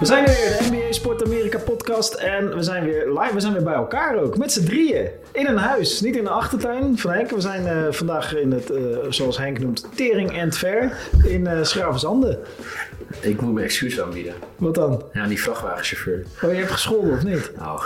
We zijn er weer, de NBA Sport Amerika podcast. En we zijn weer live, we zijn weer bij elkaar ook. Met z'n drieën. In een huis, niet in de achtertuin van Henk. We zijn eh, vandaag in het, eh, zoals Henk noemt, Tering and Fair in eh Schravenzande. Ik moet mijn excuus aanbieden Wat dan? aan die vrachtwagenchauffeur. Oh, je hebt gescholden of niet? Nou,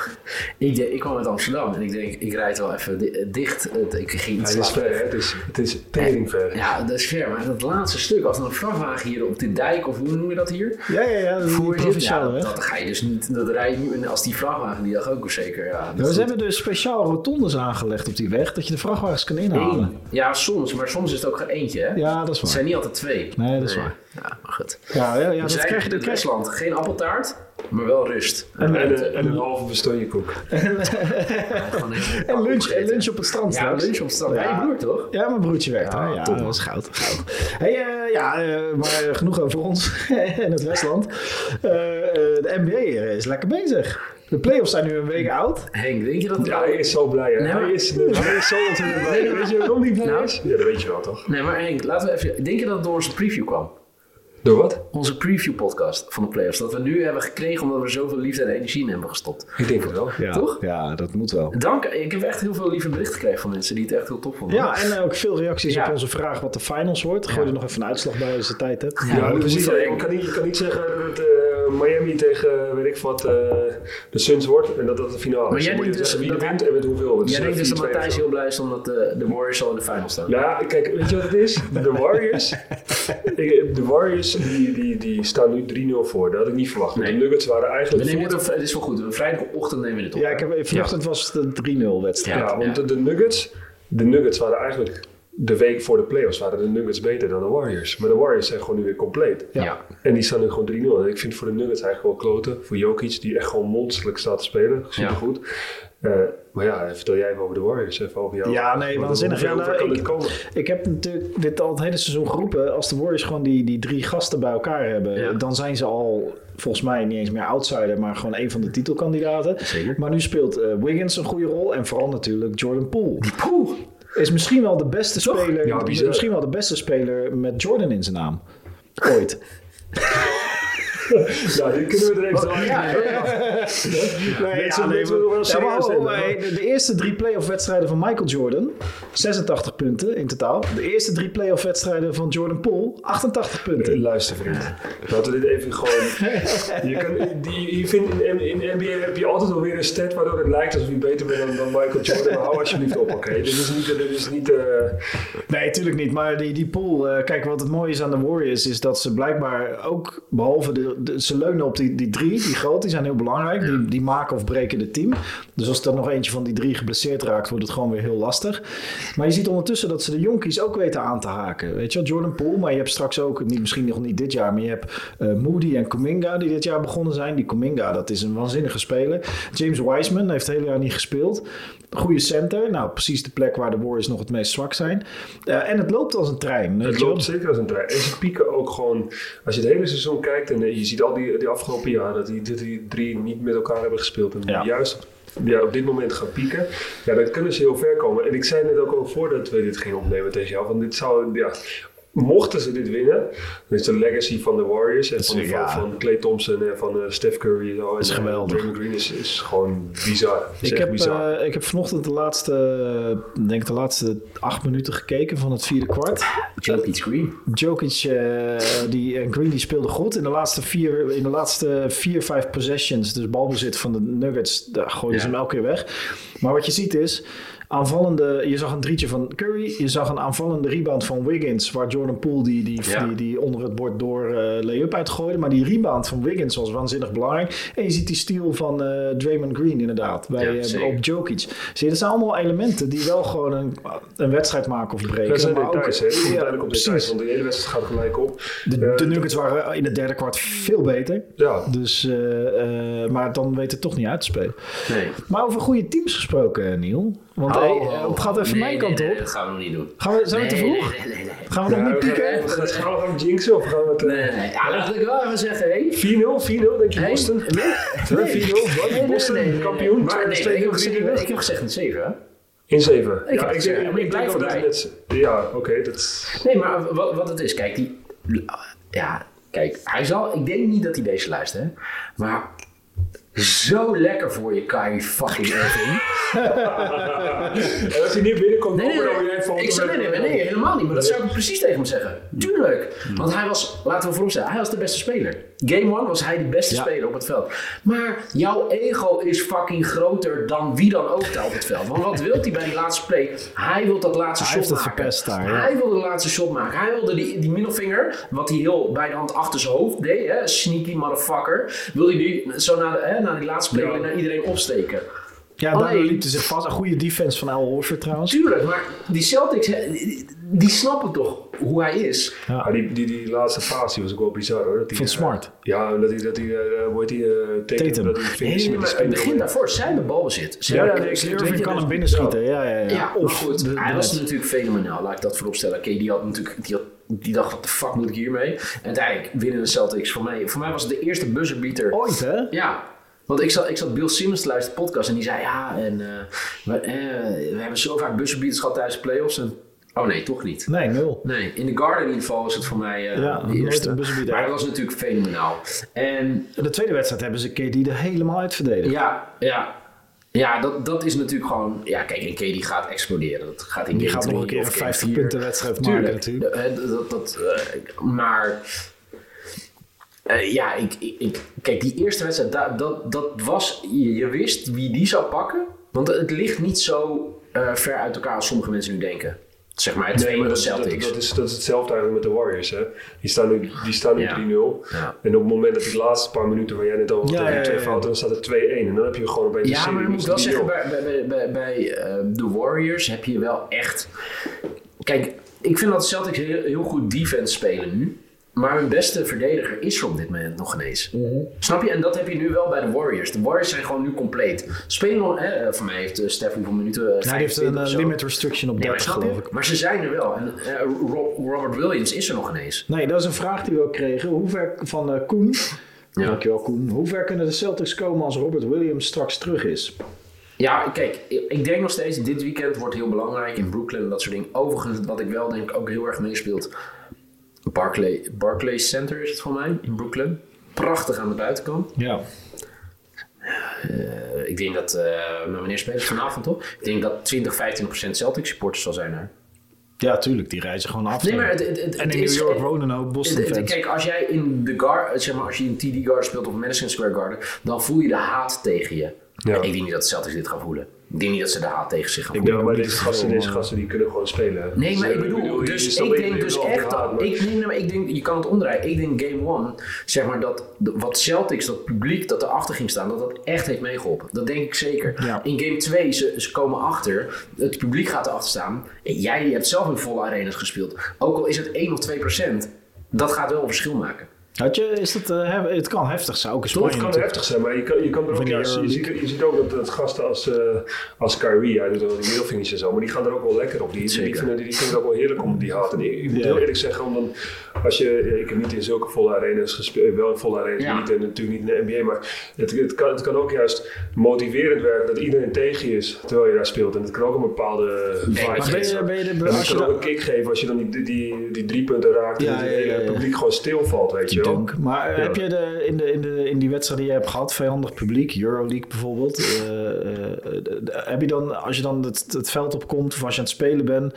ik, de- ik kwam uit Amsterdam en ik denk, ik rijd wel even di- dicht. Het- Ik ging iets Het is later. ver, hè? het is, het is tering ver. Ja, dat is ver, maar dat laatste stuk, als er een vrachtwagen hier op de dijk, of hoe noem je dat hier? Ja, ja, ja. Die Voor zit, provinciale ja, weg. dat ga je dus niet, dat rij je nu, en als die vrachtwagen die dag ook zeker. Ja, Ja, dat ze is hebben dus speciaal rotondes aangelegd op die weg, dat je de vrachtwagens kan één. inhalen. Ja, soms, maar soms is het ook geen eentje, hè? Ja, dat is Het waar. zijn niet altijd twee. Nee, dat is waar. Ja, maar goed. Ja, ja, ja We dat zijn krijg je. in Dat het krijg je. Westland. Geen appeltaart, maar wel rust. En, een- en een halve bestonjekoek. Gewoon heel veel En lunch, appel en eten. lunch op het strand Oh, Ja, straks. lunch op het strand. Ja. Ja, je broer toch? Ja, mijn broertje werkt daar. Ja, top. dat is goud. Hey, eh, ja, eh, maar eh, genoeg over ons en het Westland. Eh, eh, de NBA is lekker bezig. De playoffs zijn nu een week oud. Henk, denk je dat... Ja, hij is zo blij. hè? Nee, maar- hij, is, hij is zo ontzettend blij. Weet je waarom hij blij Nou. is? Ja, dat weet je wel, toch? Nee, maar Henk, laten we even... Denk je dat het door onze preview kwam? Door wat? Onze preview podcast van de playoffs. Dat we nu hebben gekregen omdat we zoveel liefde en energie in hebben gestopt. Ik denk van wel. Ja, Toch? Ja, dat moet wel. Dank. Ik heb echt heel veel lieve berichten gekregen van mensen die het echt heel tof vonden. Ja, en eh, ook veel reacties Ja. op onze vraag wat de finals wordt. Gooi er nog even een uitslag bij als je tijd hebt. Ja, Ja, dat dus moet je wel je eng. kan niet, je kan niet zeggen dat het, eh, Miami tegen, eh, weet ik wat, eh, de Suns wordt en dat dat de finale is. Maar jij Dan moet je denkt dus zeggen wie dat- er wint en met hoeveel. Het is Jij denkt dus een dat 4-2 of Matthijs zo. heel blij is omdat eh, de, de Warriors al in de final staan. Nou, kijk, weet je wat het is? De Warriors. Ik- de Warriors die, die, die staan nu 3-0 voor. Dat had ik niet verwacht. want Nee. De Nuggets We waren eigenlijk. nemen voor- dit op, het is wel goed. We Vrijdagochtend nemen we dit op. Ja, hè? ik heb, eh, vanochtend was het een 3-0 wedstrijd. ja, ja. Nou, want de, de Nuggets. De Nuggets waren eigenlijk. De week voor de playoffs waren de Nuggets beter dan de Warriors. Maar de Warriors zijn gewoon nu weer compleet. Ja. En die staan nu gewoon 3-0. En ik vind voor de Nuggets eigenlijk wel kloten. Voor Jokic, die echt gewoon monsterlijk staat te spelen. Supergoed. Eh, maar ja, vertel jij even over de Warriors. Even over jou. Ja, nee, Want waanzinnig. Hoeveel, Ja, nou, hoeveel kan ik- dit komen? Ik heb natuurlijk dit al het hele seizoen geroepen. Als de Warriors gewoon die, die drie gasten bij elkaar hebben, Ja. dan zijn ze al volgens mij niet eens meer outsider, maar gewoon een van de titelkandidaten. Zeker. Maar nu speelt eh, Wiggins een goede rol en vooral natuurlijk Jordan Poole. Poeh. Is misschien wel de beste speler, Ja, bizar. misschien wel de beste speler met Jordan in zijn naam. Ooit. Ja, dit kunnen we er even doorheen. Nee, Mensen- mensen willen wel maar serieus ho, ho, nemen, hey, de, de eerste drie playoff wedstrijden van Michael Jordan, 86 punten in totaal. De eerste drie playoff wedstrijden van Jordan Poole, 88 punten. Luister vriend, laten we dit even gewoon... Je, kan, die, je vindt in, in in NBA heb je altijd wel weer een stat waardoor het lijkt alsof je beter bent dan, dan Michael Jordan. Maar hou alsjeblieft op, oké? Dit is niet... Dit is niet eh, Nee, tuurlijk niet. Maar die, die pool, eh, kijk, wat het mooie is aan de Warriors, is dat ze blijkbaar ook, behalve de, de- ze leunen op die, die drie, die groot, die zijn heel belangrijk. Die, die maken of breken het team. Dus als er nog eentje van die drie geblesseerd raakt, wordt het gewoon weer heel lastig. Maar je ziet ondertussen dat ze de jonkies ook weten aan te haken. Weet je wel, Jordan Poole, maar je hebt straks ook, niet, misschien nog niet dit jaar, maar je hebt eh, Moody en Kuminga die dit jaar begonnen zijn. Die Kuminga, dat is een waanzinnige speler. James Wiseman heeft het hele jaar niet gespeeld. Goede center, nou precies de plek waar de Warriors nog het meest zwak zijn. Eh, en het loopt als een trein. weet het je wel. loopt zeker als een trein. En ze pieken ook gewoon... Als je het hele seizoen kijkt en eh, je ziet al die, die afgelopen jaren... dat die, die, die drie niet met elkaar hebben gespeeld. En Ja. juist op- ja, op dit moment gaan pieken. Ja, dan kunnen ze heel ver komen. En ik zei net ook al voordat we dit gingen opnemen tegen jou... van dit zou... Ja, Mochten ze dit winnen, dan is de legacy van de Warriors en van, is- ja. van, van Clay Thompson en van eh, Steph Curry en zo. is en, eh, geweldig. Draymond Green is, is gewoon bizar. Is Ik echt heb, bizar. eh, ik heb vanochtend de laatste, eh, denk ik de laatste acht minuten gekeken van het vierde kwart. Jokic Green. Jokic eh, die, en Green die speelden goed. In de laatste vier, in de laatste vier vijf possessions, dus balbezit van de Nuggets, daar gooiden Ja. ze hem elke keer weg. Maar wat je ziet is, aanvallende, je zag een drietje van Curry, je zag een aanvallende rebound van Wiggins, waar Jordan Poole die, die, Ja. die, die onder het bord door eh lay-up uitgooide. Maar die rebound van Wiggins was waanzinnig belangrijk. En je ziet die steal van eh, Draymond Green inderdaad, bij, Ja, eh, zeker. op Jokic. Zie je, dat zijn allemaal elementen die wel gewoon een, een wedstrijd maken of breken. Dat zijn maar ook- details, hè? Het komt Ja, uiteindelijk op details, precies. want de hele wedstrijd gaat gelijk op. De, de Eh, Nuggets waren in het derde kwart veel beter. ja, Dus, eh, eh, maar dan weet het toch niet uit te spelen. Nee. Maar over goede teams gesproken, eh, Niel. Want Oh, hey, eh, het gaat even nee, mijn nee, kant nee, op. dat gaan we nog niet doen. Gaan we, zijn we te Nee, vroeg? Nee, nee, nee, nee. Gaan we Ja, nog niet we gaan- pieken? we gaan- Gaan we gaan jinxen of gaan we het... eh, Nee, nee. Ja, laat ik wel even zeggen, hé. 4-0, 4-0, denk je Nee. Boston? Nee. Huh, 4-0, wat? Boston, kampioen, Maar, nee, tweede ik, heb steken, gezegd, drie ik heb gezegd een 7, hè? In 7. heb het gezegd, maar ik blijf erbij. Ja, oké, dat... Nee, maar wat, wat het is, kijk, die. Ja, Kijk, hij zal, ik denk niet dat hij deze luistert, hè. maar zo lekker voor je, Kai fucking Irving. En als hij niet binnenkomt, Nee, nee, dan nee, weer even Ik zou, nee, nee, nee, nee, helemaal niet. Maar dat zou ik precies tegen hem zeggen. Tuurlijk. Hmm. Want hij was, laten we voorop stellen, hij was de beste speler. Game one was hij de beste Ja. speler op het veld. Maar jouw ego is fucking groter dan wie dan ook daar op het veld. Want wat wil hij bij die laatste play? Hij wil dat laatste Hij heeft shot dat maken. verpest daar, ja. Hij wilde de laatste shot maken. Hij wilde die, die middelvinger, wat hij heel bij de hand achter zijn hoofd deed, hè, sneaky motherfucker, wilde hij die zo naar, de, hè, naar die laatste play Ja. wilde hij naar iedereen opsteken. Ja, daar Alleen- liep hij zich vast. Een goede defense van Al Horford trouwens. Tuurlijk, maar die Celtics, hè, die, die snappen toch hoe hij is. Maar die, die, die laatste fase die was ook wel bizar hoor. Dat die, Van eh, Smart. ja, dat hij, dat hij, eh, hoe heet die, eh, Tatum, Tatum. dat hij finish Nee, met maar die in het begin spin. daarvoor, zij hebben balbezit. Ze Ja, hebben- ja, weet Irving je, kan dus- hem binnenschieten. Ja, ja, ja. Ja, maar of goed. de- hij de was net. natuurlijk fenomenaal, laat ik dat vooropstellen. Oké, die had natuurlijk... Die had, die dacht, wat de fuck moet ik hiermee? En uiteindelijk winnen de Celtics voor mij. Voor mij was het de eerste buzzerbeater. Ooit, hè? Ja, want ik zat, ik zat Bill Simmons te luisteren de podcast en die zei ja, en eh, we, eh, we hebben zo vaak buzzerbeaters gehad tijdens de playoffs. En, oh nee, toch niet. Nee, nul. Nee, in de Garden in ieder geval was het voor mij eh Ja, de nooit eerste. een buzzerbeater. Maar dat was natuurlijk fenomenaal. En In de tweede wedstrijd hebben ze KD er helemaal uit verdedigd. ja, ja. Ja, dat, dat is natuurlijk gewoon... Ja, kijk, en Katie gaat exploderen. Dat gaat in Die game gaat nog drie een keer of een game 50 vier. punten wedstrijd maken Tuurlijk. natuurlijk. Eh, Dat, dat, eh, maar... eh, ja, ik, ik, ik- kijk, die eerste wedstrijd, dat, dat, dat was... Je, je wist wie die zou pakken. Want het ligt niet zo eh, ver uit elkaar als sommige mensen nu denken. Zeg maar, het Nee, tweede maar dat, dat, Celtics. dat, is, dat is hetzelfde eigenlijk met de Warriors. Hè. Die staan nu, die staan nu Ja. 3-0. Ja. En op het moment dat die laatste paar minuten waar jij net over had, Ja, dat die ja, twee ja, ja. fouten, dan staat het 2-1. En dan heb je gewoon opeens een Dus, Ja, eh, serie maar dan moet ik met wel zeggen, bij, bij, 3-0. bij, bij, bij, eh, de Warriors heb je wel echt... Kijk, ik vind dat de Celtics heel, heel goed defense spelen nu. Maar hun beste verdediger is er op dit moment nog geen eens. Mhm. Snap je? En dat heb je nu wel bij de Warriors. De Warriors zijn gewoon nu compleet. Spelen nog... eh, eh, voor mij heeft eh, Stef hoeveel minuten? Eh, Hij heeft 25 een eh, of zo. limit restriction op Nee, maar, 30, snap je? geloof ik. maar ze zijn er wel. En eh, Rob- Robert Williams is er nog ineens. Nee, dat is een vraag die we ook kregen. Hoe ver van eh, Koen. Ja. Dankjewel, Koen. Hoe ver kunnen de Celtics komen als Robert Williams straks terug is? Ja, kijk, ik ik denk nog steeds, dit weekend wordt heel belangrijk in Brooklyn en dat soort dingen. Overigens, wat ik wel denk ook heel erg meespeelt, Barclay, Barclays Center is het voor mij in Brooklyn. Prachtig aan de buitenkant. Ja. Eh, ik denk dat, eh maar wanneer spelen ze vanavond toch? Ik denk dat 20, 15 Celtic supporters zal zijn daar. Ja, tuurlijk. Die reizen gewoon af. Nee, maar het, het, het, en het in is- New York wonen ook Boston het- het- fans. Eh, Kijk, als jij in de gar, eh, zeg maar, als je in TD Garden speelt of Madison Square Garden, dan voel je de haat tegen je. Ja. Ik denk niet dat de Celtics dit gaan voelen. Ik denk niet dat ze de haat tegen zich gaan voelen. Ja, maar niet deze te gasten, veel, deze man. gasten die kunnen gewoon spelen. Nee, maar Dus, ik eh, bedoel, je- dus je- ik je- denk je- dus je- echt maar- dat. Ik, nee, nee, maar ik denk, je kan het omdraaien. Ik denk Game One, zeg maar dat de- wat Celtics, dat publiek dat erachter ging staan, dat dat echt heeft meegeholpen. Dat denk ik zeker. Ja. In Game 2, ze, ze komen achter, het publiek gaat erachter staan. En Jij hebt zelf in volle arenas gespeeld. Ook al is het 1 of 2 procent, dat gaat wel een verschil maken. Had je, is dat, eh, hef- het kan heftig zijn, ook in Toch Spanje het kan natuurlijk. heftig zijn, maar je kan, je kan er ook, in de ja, je, Euroleague. ziet, je ziet ook dat, dat gasten als, eh als Kyrie, hij doet wel die middelvingers en zo, maar die gaan er ook wel lekker op. Die, die, Zeker. vinden, die vinden het ook wel heerlijk om die haat. En ik, ik moet Ja. heel eerlijk zeggen, om dan, als je, ik heb niet in zulke volle arenas gespeeld, wel in volle arenas, Ja. niet, en natuurlijk niet in de NBA, maar het, het, kan, het kan ook juist motiverend werken dat iedereen tegen je is terwijl je daar speelt. En dat kan ook een bepaalde vibe maar Maar ben je, geven. ben je de- En dat als je kan ook dan- een kick geven als je dan die, die, die drie punten raakt Ja, en het ja, ja, hele ja. publiek gewoon stilvalt, weet je wel. Dank. Maar heb je de, in, de, in, de, in die wedstrijd die je hebt gehad, vijandig publiek, Euroleague bijvoorbeeld, eh, eh, de- de- heb je dan, als je dan het, het veld opkomt of als je aan het spelen bent,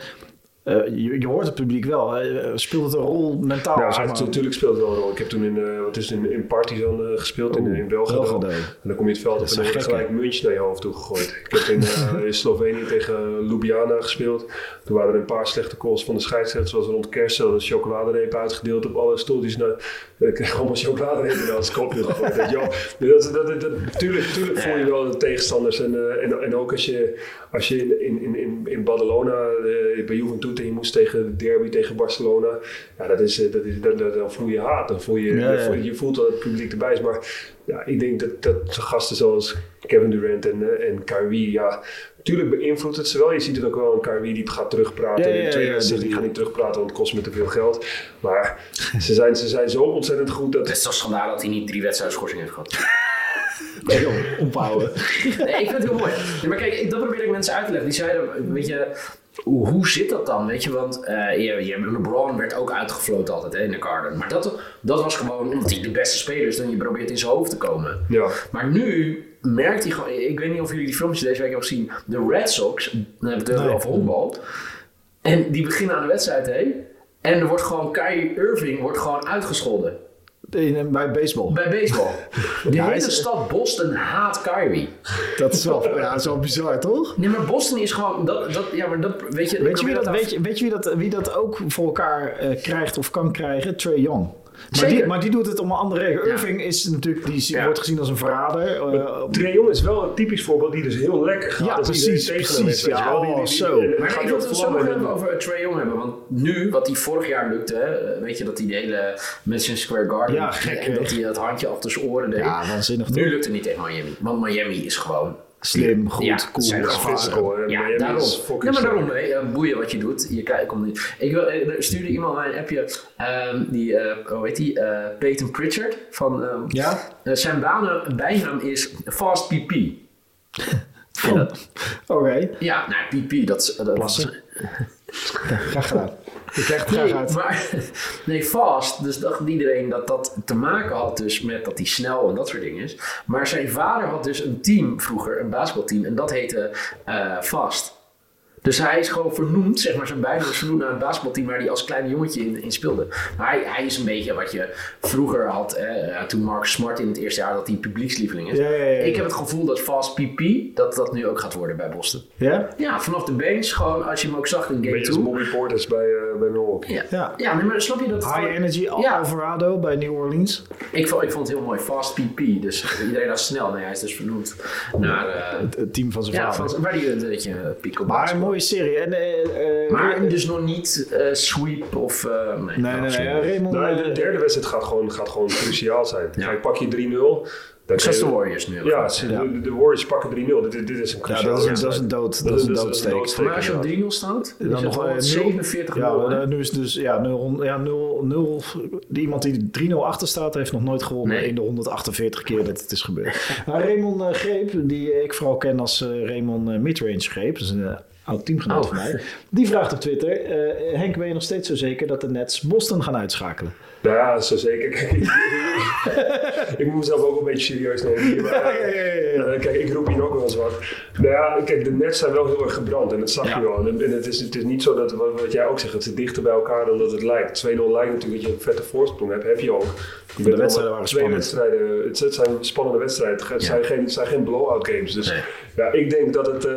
eh, je, je hoort het publiek wel, hè? Eh, speelt het een rol mentaal? Ja, zeg het- maar? natuurlijk speelt het wel een rol. Ik heb toen in, eh, wat is het, in, in Partizan eh, gespeeld, in, Oeh, in België. Belgrado. En dan kom je het veld op en dan zijn wordt gekken. gelijk muntje naar je hoofd toe gegooid. Ik heb in, eh, in Slovenië tegen eh, Ljubljana gespeeld. Toen waren er een paar slechte calls van de scheidsrechter. Zoals rond kerst hadden ze chocoladerepen uitgedeeld op alle stoeltjes. Nou, ik kreeg allemaal chocoladerepen als kopje gegooid. weet je wel. Dus dat, dat, dat, dat, tuurlijk, tuurlijk voel je wel de tegenstanders. En, eh, en, en ook als je, als je in, in- in, in, in Badalona eh, bij Juventus en je moest tegen de derby tegen Barcelona. Ja, dat is, eh, dat is, dat, dat, dan voel je haat. Dan voel je, Ja, ja. dan voel je- je voelt dat het publiek erbij is. Maar ja, ik denk dat, dat zo'n gasten zoals Kevin Durant en, eh, en Kyrie, ja, natuurlijk beïnvloedt het ze wel. Je ziet het ook wel aan Kyrie, die gaat terugpraten. Ja, in ja, de tweede ja, wedstrijd, die- die gaat niet terugpraten, want het kost me te veel geld. Maar ze zijn, ze zijn zo ontzettend goed dat... Het is toch schandaal dat hij niet drie wedstrijden schorsing heeft gehad. Nee, joh, ophouden. Nee, ik vind het heel mooi. Nee, maar kijk, ik- dat probeer ik mensen uit te leggen. Die zeiden, weet je, hoe, hoe zit dat dan? Weet je, want eh, je, je, LeBron werd ook uitgefloten altijd hè, in de Garden. Maar dat, dat was gewoon omdat hij de beste speler is, dan je probeert in zijn hoofd te komen. Ja. Maar nu merkt hij gewoon, ik weet niet of jullie die filmpjes deze week hebben gezien, de Red Sox, dan hebben we het Nee. over honkbal. En die beginnen aan de wedstrijd heen. En er wordt gewoon Kyrie Irving wordt gewoon uitgescholden. In, in- bij baseball. Bij baseball. De Ja, hele is- stad Boston haat Kyrie. Dat is wel, ja, dat is wel bizar, toch? Nee, maar Boston is gewoon. Dat, dat, ja, maar dat, weet je, ik Weet je, probeer wie dat, af- weet je, weet je wie, dat, wie dat ook voor elkaar eh, krijgt of kan krijgen? Trey Young. Maar Zeker. die, maar die doet het om een andere reden. Ja. Irving is natuurlijk, die is- Ja. wordt gezien als een verrader. eh, op- Trae Young is wel een typisch voorbeeld die dus heel lekker gaat. Ja, als iedereen precies, tegen hem is, precies, weet je ja. wel. Oh, zo. en dan Maar gaat ik hij wil op het zo nog vlammen en even dan- over Trae Young hebben. Want nu, wat hij vorig jaar lukte, hè, weet je dat hij de hele Madison Square Garden. Ja, gek, en hè? dat hij het handje achter zijn oren deed. ja, waanzinnig. toch? nu lukt het niet tegen Miami. Want Miami is gewoon. Slim, goed, Ja, cool. zijn Dat is ervaren. physical, hè. Miami Ja, is daarom. fucking Ja, maar sterk. daarom, hè, eh, boeien wat je doet. Je kijkt, komt niet. Ik wil, eh, er stuurde iemand mij een appje, ehm, die, eh, hoe heet die, eh, Peyton Pritchard. Van, ehm, Ja? eh, zijn bijnaam, bijnaam is Fast PP. En dat- Oké, Ja, nou, PP, dat is... dat- Plassen. graag gedaan. Ik leg het graag Nee, uit. maar, nee, fast. Dus dacht iedereen dat dat te maken had dus met dat hij snel en dat soort dingen is. Maar zijn vader had dus een team vroeger, een basketbalteam, en dat heette eh, Fast. Dus hij is gewoon vernoemd, zeg maar, zijn bijnaam is vernoemd naar een basketbalteam waar hij als klein jongetje in, in speelde. Maar hij, hij is een beetje wat je vroeger had, eh, toen Mark Smart in het eerste jaar, dat hij publiekslieveling is. Ja, ja, ja, ja. Ik heb het gevoel dat Fast PP, dat dat nu ook gaat worden bij Boston. Ja? Ja, vanaf de bench, gewoon als je hem ook zag in game Beetje als 2. Bobby Portis bij, eh, bij Milwaukee. Ja, Ja. ja. nee, maar snap je dat? het High gewoon- Energy Al- Ja. Alvarado bij New Orleans. Ik vond, ik vond het heel mooi, Fast PP. Dus iedereen dacht snel. Nee, hij is dus vernoemd naar. eh Het, het team van zijn ja, vader. van, waar die eh, een beetje piek op Maar was. een mooie serie. En, eh, eh, Maar nee, dus nog niet eh, sweep of. eh, nee, nee, nee. absoluut. Raymond, Nou, eh, de derde wedstrijd gaat gewoon, gaat gewoon cruciaal zijn. Ja. Kijk, pak je 3-0. dan Zes de kun je- Warriors nu. Ja, ze- Ja. De, de Warriors pakken 3-0. Dit, dit- dit is een ja, cruciaal. dat is, een- dat is een dood. Dat, is een doodsteek. doodsteek, Maar als je op inderdaad. 3-0 staat, dan nog, is nog eh, nul. wel 47 Ja, nul, maar, hè? eh, nu is het dus ja, 0, ja, 0, 0, iemand die 3-0 achter staat, heeft nog nooit gewonnen Nee. in de 148 keer dat het is gebeurd. Maar Raymond eh, Greep, die ik vooral ken als eh, Raymond eh, Midrange Greep, dat is een eh, oud teamgenoot Oh. van mij, die vraagt op Twitter, eh, Henk, ben je nog steeds zo zeker dat de Nets Boston gaan uitschakelen? Nou ja, zo zeker. Kijk, ik- ik moet mezelf ook een beetje serieus nemen. hier, maar, Ja, ja, ja, ja. eh, kijk, ik roep hier ook wel eens wat. Nou ja, kijk, de nets zijn wel heel erg gebrand en dat zag Ja. je wel. En het is, het is niet zo dat, wat, wat jij ook zegt, het zit dichter bij elkaar dan dat het lijkt. 2-0 lijkt natuurlijk dat je een vette voorsprong hebt, heb je ook. de wedstrijden waren twee spannend. wedstrijden. Het het zijn spannende wedstrijden. Het zijn, geen, het zijn geen blow-out games. Dus Nee. ja, ik denk dat het, eh,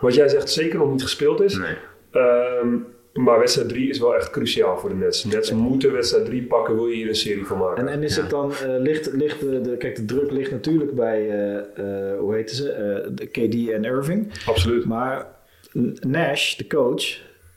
wat jij zegt, zeker nog niet gespeeld is. Nee. Ehm, maar wedstrijd 3 is wel echt cruciaal voor de Nets. Nets moeten wedstrijd 3 pakken, wil je hier een serie van maken. En, en is Ja. het dan, eh, ligt, ligt de, de- kijk de druk ligt natuurlijk bij, eh, eh, hoe heten ze, Eh, de KD en Irving. Absoluut. Maar N- Nash, de coach,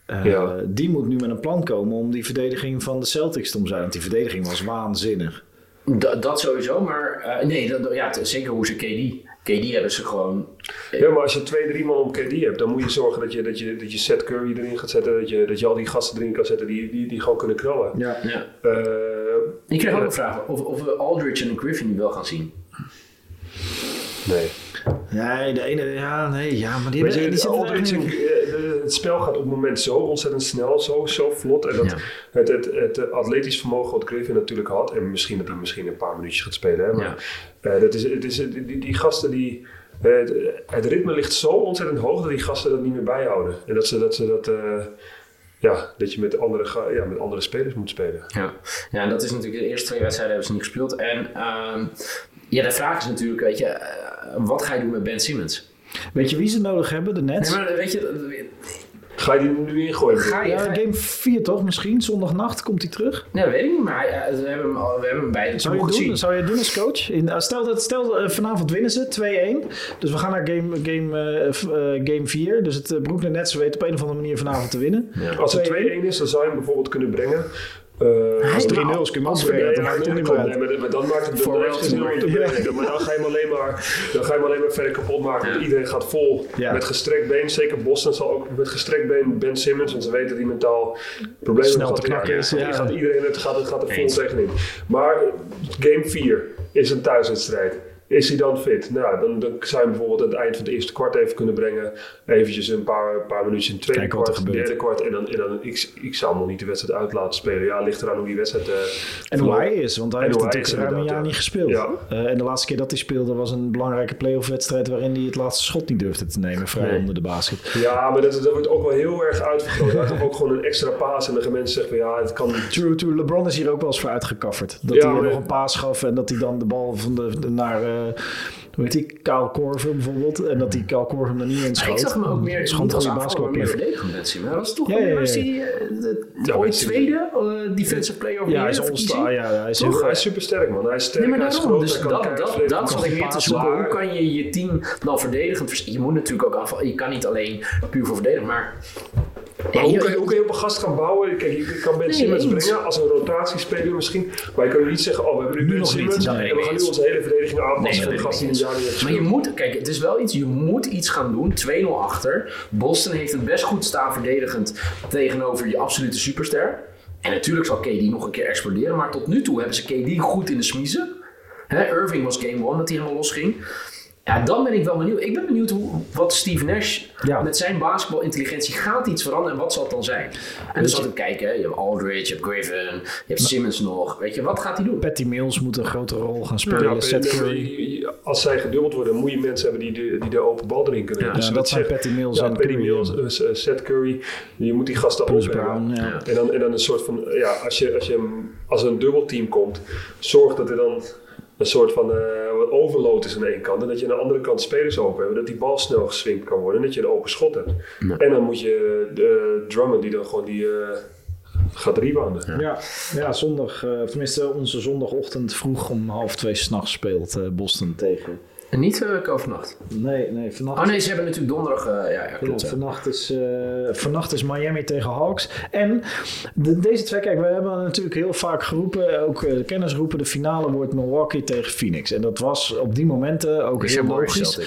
eh, Ja. die moet nu met een plan komen om die verdediging van de Celtics te omzeilen. Want die verdediging was waanzinnig. Da- dat sowieso, maar. eh, nee, dat, ja, t- zeker hoe ze KD. KD hebben ze gewoon. Ja, maar als je twee, drie man om KD hebt, dan moet je zorgen dat je, dat je, dat je Seth Curry erin gaat zetten. Dat je, dat je al die gasten erin kan zetten die, die, die gewoon kunnen knallen. Ja. Ja. Eh, Ik kreeg ook een vraag of, of we Aldridge en Griffin nu wel gaan zien. nee. Nee, de ene, ja, nee, ja, maar die, Weet hebben, je, die zitten er Aldridge, echt niet in. eh, de- het spel gaat op het moment zo ontzettend snel, zo, zo vlot. En dat, Ja. het, het, het, eh, atletisch vermogen wat Griffin natuurlijk had, en misschien dat hij misschien een paar minuutjes gaat spelen, hè, maar eh, dat is, het is, die, die- die gasten die. eh, Het, het ritme ligt zo ontzettend hoog dat die gasten dat niet meer bijhouden. En dat ze dat. Ze dat eh, ja, dat je met andere, ga- ja, met andere spelers moet spelen. Ja. ja, en dat is natuurlijk de eerste twee wedstrijden hebben ze niet gespeeld. En ehm, ja, de vraag is natuurlijk, weet je, eh, wat ga je doen met Ben Simmons? Weet je wie ze nodig hebben, de Nets? Nee, maar weet je, Ga je die nu ingooien? ga je... ja, ga je- game 4 toch misschien? Zondagnacht komt hij terug. nee, dat weet ik niet, maar hij- eh, we hebben hem, al- we hebben hem bij de Zou je, ploeg het doen, gezien. zou je het doen als coach? In, eh, stel dat, stel eh, vanavond winnen ze 2-1. Dus we gaan naar game, game, eh, f- eh, game 4. Dus het eh, Brooklyn Nets weet op een of andere manier vanavond te winnen. Als het 2-1 Twee- is, dan zou je hem bijvoorbeeld kunnen brengen. Eh, Als als 3-0 het is, kun je hem ook Nee, brengen. Dat maar maakt het niet dat meer klopt. uit. Nee, maar- maar dan maakt het Voor dan heeft het wel geen te zin om te bedenken. Maar dan ga je hem alleen maar, dan ga je hem alleen maar verder kapot maken. Want iedereen gaat vol Ja. met gestrekt been. Zeker Boston zal ook met gestrekt been Ben Simmons, want ze weten dat hij mentaal problemen Snel heeft. te Ja, knakken is, ja, ja. die Gaat iedereen het gaat, het gaat er vol Eens. tegenin. Maar game 4 is een thuiswedstrijd. Is hij dan fit? Nou, dan, dan zou je bijvoorbeeld aan het eind van het eerste kwart even kunnen brengen. Eventjes een paar, paar minuutjes in het tweede Kijken wat er kwart, het gebeurt. derde kwart. En dan, en dan ik, ik zou hem nog niet de wedstrijd uit laten spelen. Ja, ligt eraan hoe die wedstrijd... eh, En hoe verloopt. hij is, want hij En heeft hoe hij natuurlijk is, ruim een inderdaad, jaar ja. niet gespeeld. Ja. Eh, en de laatste keer dat hij speelde was een belangrijke playoff wedstrijd waarin hij het laatste schot niet durfde te nemen, vrij Nee. onder de basket. Ja, maar dat, dat wordt ook wel heel erg uitvergroot. Hij gaf ook gewoon een extra paas en dan gaan mensen zeggen van ja, het kan niet. True, true. LeBron is hier ook wel eens voor uitgekafferd. Dat Ja, hij maar- nog een paas gaf en dat hij dan de bal van de, de- naar, eh, hoe heet die, Kyle Korver bijvoorbeeld. En dat die Kyle Korver hem er niet in schoot. Ik zag hem ook Het meer is niet gewoon als een goede aanvaller, maar meer basketbalplayer. verdedigend met zien. Maar hij was toch Ja, wel- ja, ja, was ja. hij eh, de- Ja, ooit weet je- tweede eh, defensive player of the Ja, hij year is verkiezing? all-star. Ja, ja, hij is Toch? heel Hij is super sterk man. Hij is sterk, Nee, maar hij is daarom. groot, Dus hij kan dat, keihard dat, verdedigen, dat kan zat ik meer te passen, zoeken. Hoe maar- kan je je team dan verdedigend vers- Je moet natuurlijk ook aanvallen. Je kan niet alleen puur voor verdedigen, maar... Maar En hoe je- kan, je, hoe kan je op een gast gaan bouwen? Kijk, je kan Ben Nee, Simmons eens. brengen als een rotatiespeler misschien. Maar je kan niet zeggen, oh, we hebben nu, Ben nog niet, Simmons. nee, en we nee, gaan nu eens. onze hele verdediging Nee, aanpassen dat van de ben ik gast die niet een jaar niet heeft Maar je gespeeld. moet, kijk, het is wel iets, je moet iets gaan doen. 2-0 achter. Boston heeft het best goed staan verdedigend tegenover je absolute superster. En natuurlijk zal KD nog een keer exploderen, maar tot nu toe hebben ze KD goed in de smiezen. Hè, Irving was game one dat hij helemaal losging. Ja, dan ben ik wel benieuwd. Ik ben benieuwd hoe, wat Steve Nash Ja. met zijn basketbalintelligentie gaat iets veranderen en wat zal het dan zijn. En dan zat ik kijken, hè, je hebt Aldridge, je hebt Griffin, je hebt Simmons nog. Weet je, wat gaat hij doen? Patty Mills moet een grote rol gaan Ja, spelen. maar Seth je- Curry. je- je- eh, als zij gedubbeld worden, moet je mensen hebben die de, die de open bal erin kunnen. Dus Ja, dat zijn Patty Mills ja, en Patty Curry, Mills, ja. eh, eh, Seth Curry. Je moet die gasten Bruce open hebben. Brown, ja. En dan, en dan een soort van, ja, als, je, als, je, hem- als er een dubbelteam komt, zorg dat er dan een soort van eh, wat overload is aan de ene kant. En dat je aan de andere kant spelers open hebt. Dat die bal snel geswingt kan worden en dat je een open schot hebt. En dan moet je de drummen die dan gewoon die eh, gaat rebounden. Ja, ja zondag, eh, tenminste onze zondagochtend vroeg om half twee s'nachts speelt eh, Boston tegen. En niet uh, overnacht. Nee, nee, vannacht. Oh nee, ze hebben natuurlijk donderdag. eh, ja, ja, Ja, klopt. ja. vannacht, is, eh, vannacht is Miami tegen Hawks. En de- deze twee, kijk, we hebben natuurlijk heel vaak geroepen, ook eh, de kennis roepen, de finale wordt Milwaukee tegen Phoenix. En dat was op die momenten ook heel logisch.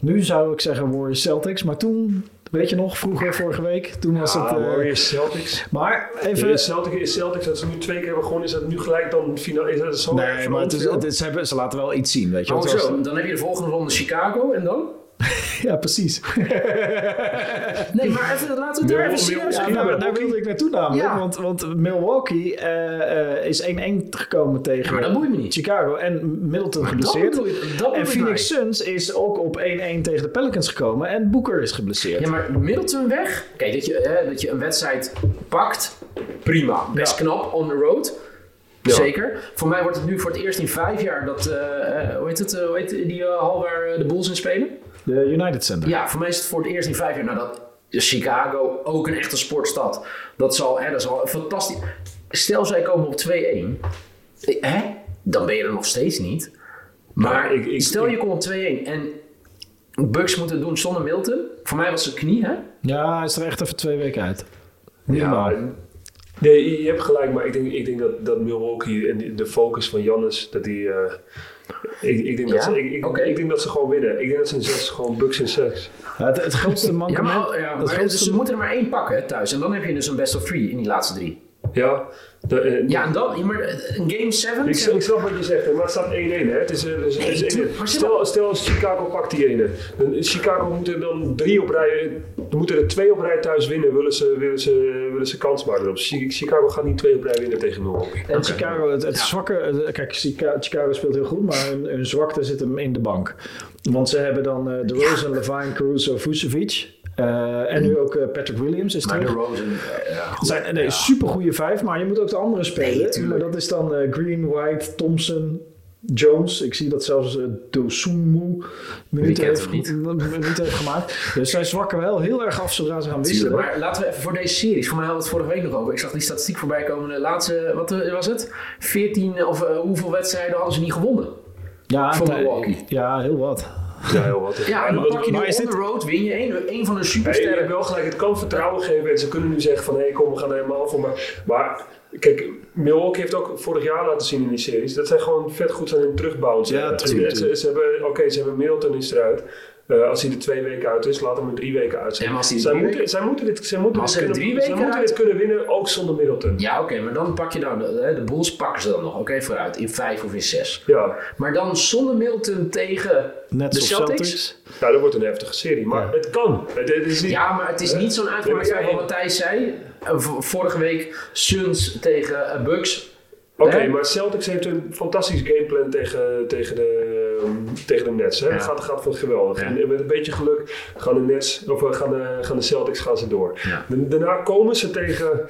Nu zou ik zeggen Warriors Celtics, maar toen, weet je nog, vroeger vorige week, toen was Ah, het... eh, Warriors, Celtics. maar even, Is Celtics, is Celtics dat ze nu twee keer hebben gewonnen, is dat nu gelijk dan finale? Is dat zo Nee, maar het is, veranderd? het is- ze, hebben, ze laten wel iets zien, weet je Maar wel. Het was- hoezo? Dan heb je de volgende ronde Chicago en dan? Ja, precies. Nee, maar even, laten we het daar even serieus Ja, over daar, hebben. daar wilde ik naartoe namelijk. Ja. Want, want Milwaukee eh, eh, is 1-1 gekomen tegen Maar dat boeit me niet. Chicago. En Middleton Dat geblesseerd. bedoel ik. Dat En bedoel ik Phoenix mij. Suns is ook op 1-1 tegen de Pelicans gekomen. En Booker is geblesseerd. Ja, maar Middleton weg. Kijk, dat je, hè, dat je een wedstrijd pakt, prima. Best knap, on the road. Zeker. Voor mij wordt het nu voor het eerst in vijf jaar dat, eh, eh, hoe heet het, eh, hoe heet die eh, hal waar eh, de Bulls in spelen? De United Center. Ja, voor mij is het voor het eerst in vijf jaar. Nou, dat Chicago, ook een echte sportstad. Dat zal, hè, dat zal fantastisch. Stel, zij komen op 2-1. Eh, Hè? Dan ben je er nog steeds niet. Maar Nou, ik- ik- stel, ik- je komt op 2-1 en Bucks moeten het doen zonder Milton. Voor mij was zijn knie, hè? Ja, hij is er echt even twee weken uit. Ja, Minimaal. Nou, Nee, je- je hebt gelijk, maar ik denk, ik denk dat, dat Milwaukee en die- de focus van Jannis, dat die. eh, ik, ik, denk dat Ja? ze, ik, ik, Oké. ik denk dat ze gewoon winnen. Ik denk dat ze in zes gewoon Bucks in zes. Ja, het, het grootste Ja, maar, mankement... ja, het maar grootste- ze moeten er maar één pakken hè, thuis. En dan heb je dus een best of three in die laatste drie. Ja, de, eh, Ja, en dan, ja, maar eh, een game ik, 7. ik snap wat je zegt, maar het staat 1-1. Hè? Het is, eh, het is, het is Nee, 1-1. maar Stel, stel als Chicago pakt die ene. Dan, eh, Chicago moet er dan drie op rij, dan moeten er twee op rij thuis winnen, willen ze, willen ze, willen ze kans maken. erop. Chi- Chicago gaat niet twee op rij winnen tegen Milwaukee. En Chicago, het, het zwakke... eh, Kijk, Chica- Chicago speelt heel goed, maar hun, hun zwakte zit hem in de bank. Want ze hebben dan eh de Rose, Levine, Caruso, Vucevic. eh, en nu ook eh, Patrick Williams is Hmm. Maar de terug. Rosen. eh, ja, Het goed. zijn nee, supergoeie vijf, maar je moet ook de andere spelen. Nee, tuurlijk. maar dat is dan eh, Green, White, Thompson, Jones. Ik zie dat zelfs eh Dosunmu minuten kent heeft, hem niet? minuten heeft gemaakt. Dus zij zwakken wel heel erg af zodra ze gaan Tuurlijk, wisselen. maar laten we even voor deze series. Voor mij hadden we het vorige week nog over. Ik zag die statistiek voorbij komen. De laatste, wat eh, was het? 14 of eh, hoeveel wedstrijden hadden ze niet gewonnen? Ja, Voor nee, Milwaukee. ja, heel wat. Ja, heel wat. Ja, en dan wat- pak je nu maar on is the dit- road, win je één, één van de Hey, je hebt supersterren. wel gelijk, het kan vertrouwen geven. En ze kunnen nu zeggen van, hé, kom, we gaan er helemaal voor. Maar, maar kijk, Milwaukee heeft ook vorig jaar laten zien in die series... dat zij gewoon vet goed zijn in terugbouwen. Ja, ze, tuurlijk. ze, ze hebben, Oké, ze hebben Middleton is eruit. Eh, als hij er twee weken uit is, laat hem er drie weken uit zijn. En als hij er zij, drie moeten, zij moeten dit, zij moeten Maar dit als hij er kunnen, drie zij weken moeten uit- dit kunnen winnen, ook zonder Middleton. Ja, oké, maar dan pak je dan de, de Bulls pakken ze dan nog. Oké, vooruit in vijf of in zes. Ja, Maar dan zonder Milton tegen Nets de of Celtics? Celtics? nou, dat wordt een heftige serie. Maar Ja. het kan. Het, het is niet- Ja, maar het is niet zo'n uitmaak Nee, maar zoals ja, wat ja. Matthijs zei. Eh, v- Vorige week Suns tegen eh, Bucks. Oké, Hè? maar Celtics heeft een fantastisch gameplan tegen, tegen, de, ehm, tegen de Nets. Hè? Ja. Gaat, gaat van geweldig. Ja. En eh, met een beetje geluk gaan de, Nets, of, eh, gaan de, gaan de Celtics gaan ze door. Ja. Da- Daarna komen ze tegen,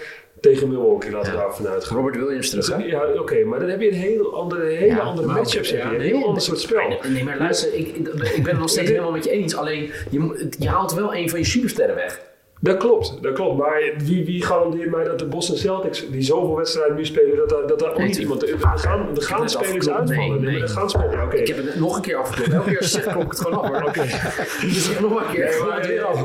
tegen Milwaukee, laten we Ja. daar vanuit gaan. Robert Williams terug, hè? Ja, oké, maar dan heb je een hele andere, hele Ja, andere maar- matchup. zeg ja, je. Een nee, heel nee, ander soort spel. Nee, maar luister, ik, ik- ik ben het nog steeds helemaal met je eens. Alleen, je, moet- je haalt wel een van je supersterren weg. Dat klopt, dat klopt. Maar wie, wie garandeert mij dat de Boston Celtics, die zoveel wedstrijden nu spelen, dat daar, dat daar ook Nee, niet iemand... Er er gaan, er Ik gaan heb het spelers afgeklopt. Nee, uitvallen. Nee, nee. Er gaan spelers... Ja, oké. Ik heb het nog een keer afgeklopt. Elke keer als je zegt, klop ik het gewoon af. Hoor. Dus ik nog maar een keer. Nee, ik klop maar- het weer af.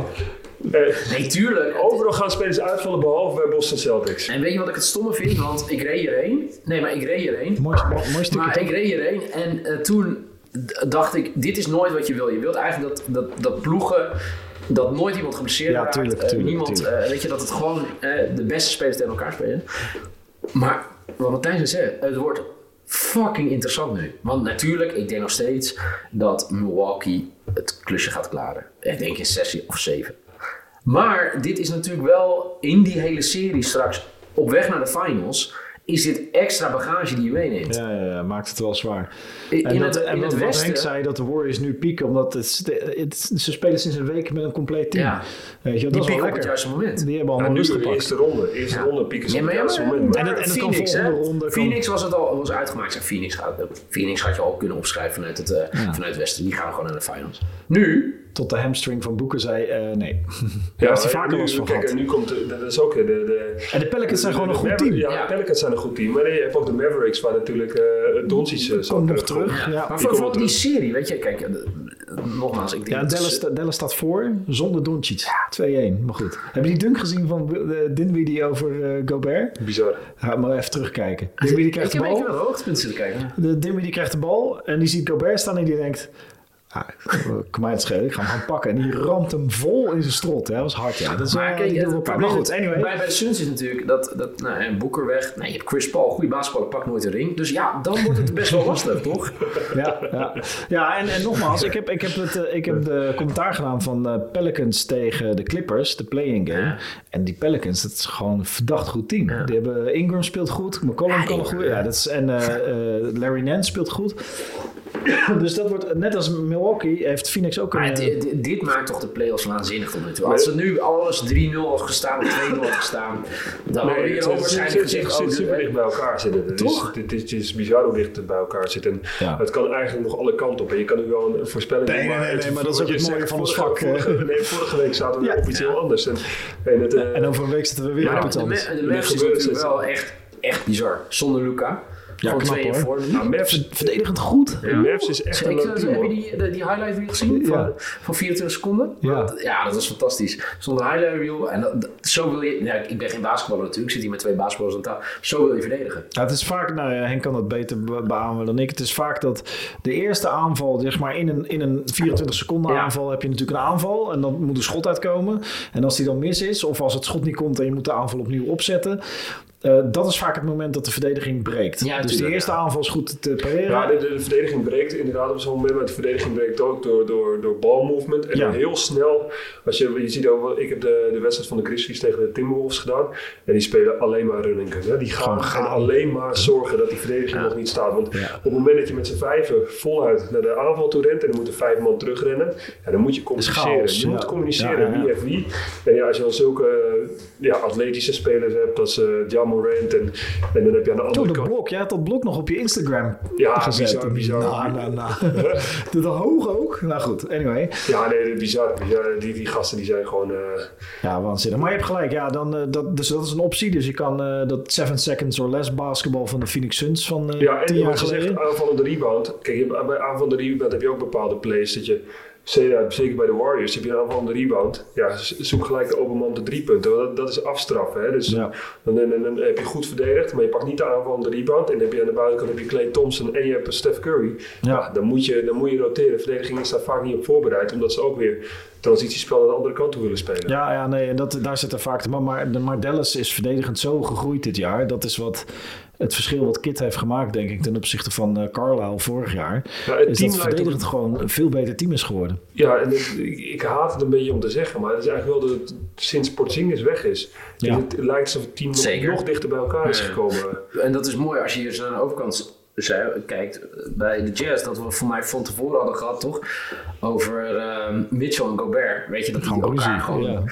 Eh, Nee, tuurlijk. Overal gaan spelers uitvallen behalve bij Boston Celtics. En weet je wat ik het stomme vind? Want ik reed hierheen. Nee, maar ik reed hierheen. Mooi, mooi, mooi stukje. Maar toch? ik reed hierheen en eh, toen d- dacht ik, dit is nooit wat je wil. Je wilt eigenlijk dat, dat, dat ploegen, dat nooit iemand geblesseerd Ja, raakt. tuurlijk, eh, tuurlijk, niemand, tuurlijk. eh, weet je, dat het gewoon eh, de beste spelers tegen elkaar spelen. Maar wat Martijn zei, het wordt fucking interessant nu. Want natuurlijk, ik denk nog steeds dat Milwaukee het klusje gaat klaren. Ik denk in sessie of zeven. Maar dit is natuurlijk wel in die hele serie straks op weg naar de finals. Is dit extra bagage die je meeneemt? Ja, ja, ja, maakt het wel zwaar. In, En, in dat, het, en in wat- het wat Henk westen. zei dat de Warriors nu pieken, omdat het, st- het- ze spelen sinds een week met een compleet team. Ja. Weet je, Die dat is pikken wel op het lekker. juiste moment. Die hebben Nou, allemaal nu rust de gepakt. eerste ronde. Eerste ronde pieken ze Ja, op maar het ja, juiste maar- moment. daar- En dat- en dat kan Phoenix, volgende hè? ronde- kan- Phoenix was het al was uitgemaakt. Ja, Phoenix, gaat, Phoenix had je al kunnen opschrijven vanuit het, eh, vanuit het Westen. Die gaan gewoon naar de finals. Nu, Tot de hamstring van Boeken zei, eh, nee. Ja, Daar heeft hij ja, vaker nu- last van kijk, gehad. en nu komt de, dat is ook de, de En de Pelicans zijn de- gewoon de een goed Maver- team. Ja, Ja. de Pelicans zijn een goed team. Maar je hebt ook de Mavericks waar natuurlijk eh Doncic eh, Komt zou nog terugkomen. terug. Ja. maar die voor, komen voor die terug. serie, weet je, kijk, eh, eh, nogmaals, ik denk Ja, dat Dallas, ze- Dallas staat voor zonder Doncic. 2-1, maar goed. Hebben jullie dunk gezien van eh, Dinwiddie over eh, Gobert? Bizar. Ga maar even terugkijken. Dinwiddie Ik krijgt de heb even naar bal. de hoogtepunten zitten kijken. De Dinwiddie krijgt de bal en die ziet Gobert staan en die denkt... Ah, kan mij het schelen, ik ga hem gewoon pakken. En die ramt hem vol in zijn strot. Hè. Dat was hard, ja. Dat is, Maar eh, kijk, die doen het we elkaar. probleem Maar goed, anyway. bij, bij de Suns is natuurlijk dat, dat nou, en Boeker weg. Nee, je hebt Chris Paul, goede basketballer, pakt nooit een ring. Dus ja, dan wordt het best wel lastig, toch? ja, ja. ja en, en nogmaals, ik heb, ik, heb het, eh, ik heb de commentaar gedaan van eh, Pelicans tegen de Clippers, de play-in game. Ja. En die Pelicans, dat is gewoon een verdacht goed team. Ja. Die hebben, eh, Ingram speelt goed, McCollum Ja, kan Ingram, goed. Ja, dat is, en eh, eh, Larry Nance speelt goed. dus dat wordt, net als Milwaukee, heeft Phoenix ook een... Maar het- eh, dit, dit maakt toch de play-offs waanzinnig tot nu toe. Als er nu alles 3-0 had gestaan, 2-0 had gestaan, dan hadden we Nee, Oh, hier het al zit- waarschijnlijk zit- gezegd... zit- oh, zit dit- super dicht bij elkaar zitten. Het is, Toch? het, is, het is bizar hoe dicht het bij elkaar zit. En Ja. Het kan eigenlijk nog alle kanten op. En je kan nu wel een voorspelling Nee, nee, nee, het- nee, maar dat is ook wat je het mooie zegt, van ons vorige- vak, hè. Vorige, nee, vorige week zaten we Ja. op iets heel anders. En, en het, eh, en over een week zitten we weer Maar op iets de, anders. Ma- de Er Mavs is gebeurt natuurlijk het. wel echt, echt bizar. Zonder Luca. Gewoon knap, twee in hoor. vorm. nou, Mavs, Verdedigend goed. de Mavs is echt een Ik, leuk heb team. je hoor. die, de- die highlight reel gezien van, Ja. van 24 seconden? Ja. Dat, ja, dat was fantastisch. Zonder highlight reel. En dat, dat- zo wil je. Ja, ik ik ben geen basketballer natuurlijk. Ik zit hier met twee basketballers aan tafel. Zo wil je verdedigen. Ja, het is vaak, nou ja, Henk kan dat beter be- beamen dan ik. Het is vaak dat de eerste aanval, zeg maar in een, in een 24 seconden Ja. aanval heb je natuurlijk een aanval. En dan moet een schot uitkomen. En als die dan mis is, of als het schot niet komt en je moet de aanval opnieuw opzetten. eh, dat is vaak het moment dat de verdediging breekt. Ja, dus de tuurlijk, eerste ja. aanval is goed te pareren. Ja, de, de- de verdediging breekt inderdaad op zo'n moment, maar de verdediging breekt ook door, door, door balmovement. En Ja. dan heel snel, als je, je ziet ook, wel- ik heb de, de wedstrijd van de Grizzlies tegen de Timberwolves gedaan. En die spelen alleen maar running gun. Hè. Die gaan, Gewoon gaan gaan. alleen maar zorgen dat die verdediging nog niet staat. Want Ja. op het moment dat je met z'n vijven voluit naar de aanval toe rent en dan moeten vijf man terugrennen, ja, dan moet je communiceren. chaos, je ja. moet Ja, communiceren ja, ja. wie heeft wie. En ja, als je dan zulke eh, ja, atletische spelers hebt als eh Ja Morant en, en dan heb je aan de Toen andere dat kant... blok, jij had dat blok nog op je Instagram Ah, Ja, gezet. bizar, bizar. Nou, nou, nou. Dat hoog ook. Nou goed, anyway. Ja, nee, bizar. bizar. Die, die gasten die zijn gewoon. eh, Ja, waanzinnig. Maar je hebt gelijk, ja, dan, eh, dat, dus dat is een optie. Dus je kan eh, dat 7 seconds or less basketbal van de Phoenix Suns van eh Ja, en 10 jaar wat je zegt, geleden. aanvallende rebound. Kijk, je- bij aanvallende rebound heb je ook bepaalde plays dat je Zeker zeker bij de Warriors heb je een aanval aan de rebound. Ja, z- zoek gelijk de open man de drie punten. want Dat, dat is afstraffen. Hè? Dus Ja. dan, dan- dan- dan heb je goed verdedigd, maar je pakt niet de aanval aan de rebound. En dan heb je aan de buitenkant heb je Clay Thompson en je hebt Steph Curry. Ja. Ja, dan, moet je, dan moet je roteren. Verdediging is daar vaak niet op voorbereid, omdat ze ook weer transitiespel aan de andere kant toe willen spelen. Ja, ja nee, en dat, daar zit er vaak... Maar, maar, maar Dallas is verdedigend zo gegroeid dit jaar. Dat is wat het verschil wat Kit heeft gemaakt, denk ik... ten opzichte van eh, Carlisle vorig jaar. Ja, het is team dat lijkt verdedigend gewoon een veel beter team is geworden. Ja, en het- ik, ik haat het een beetje om te zeggen, maar het is eigenlijk wel dat het sinds Porzingis weg is. Ja. Het, lijkt alsof het team nog- Zeker. nog, dichter bij elkaar is Ja. gekomen. En dat is mooi als je hier zo aan de overkant zei- kijkt eh, bij de Jazz. Dat we voor mij van tevoren hadden gehad, toch? Over ehm, Mitchell en Gobert. Weet je, dat die elkaar gewoon... Ja.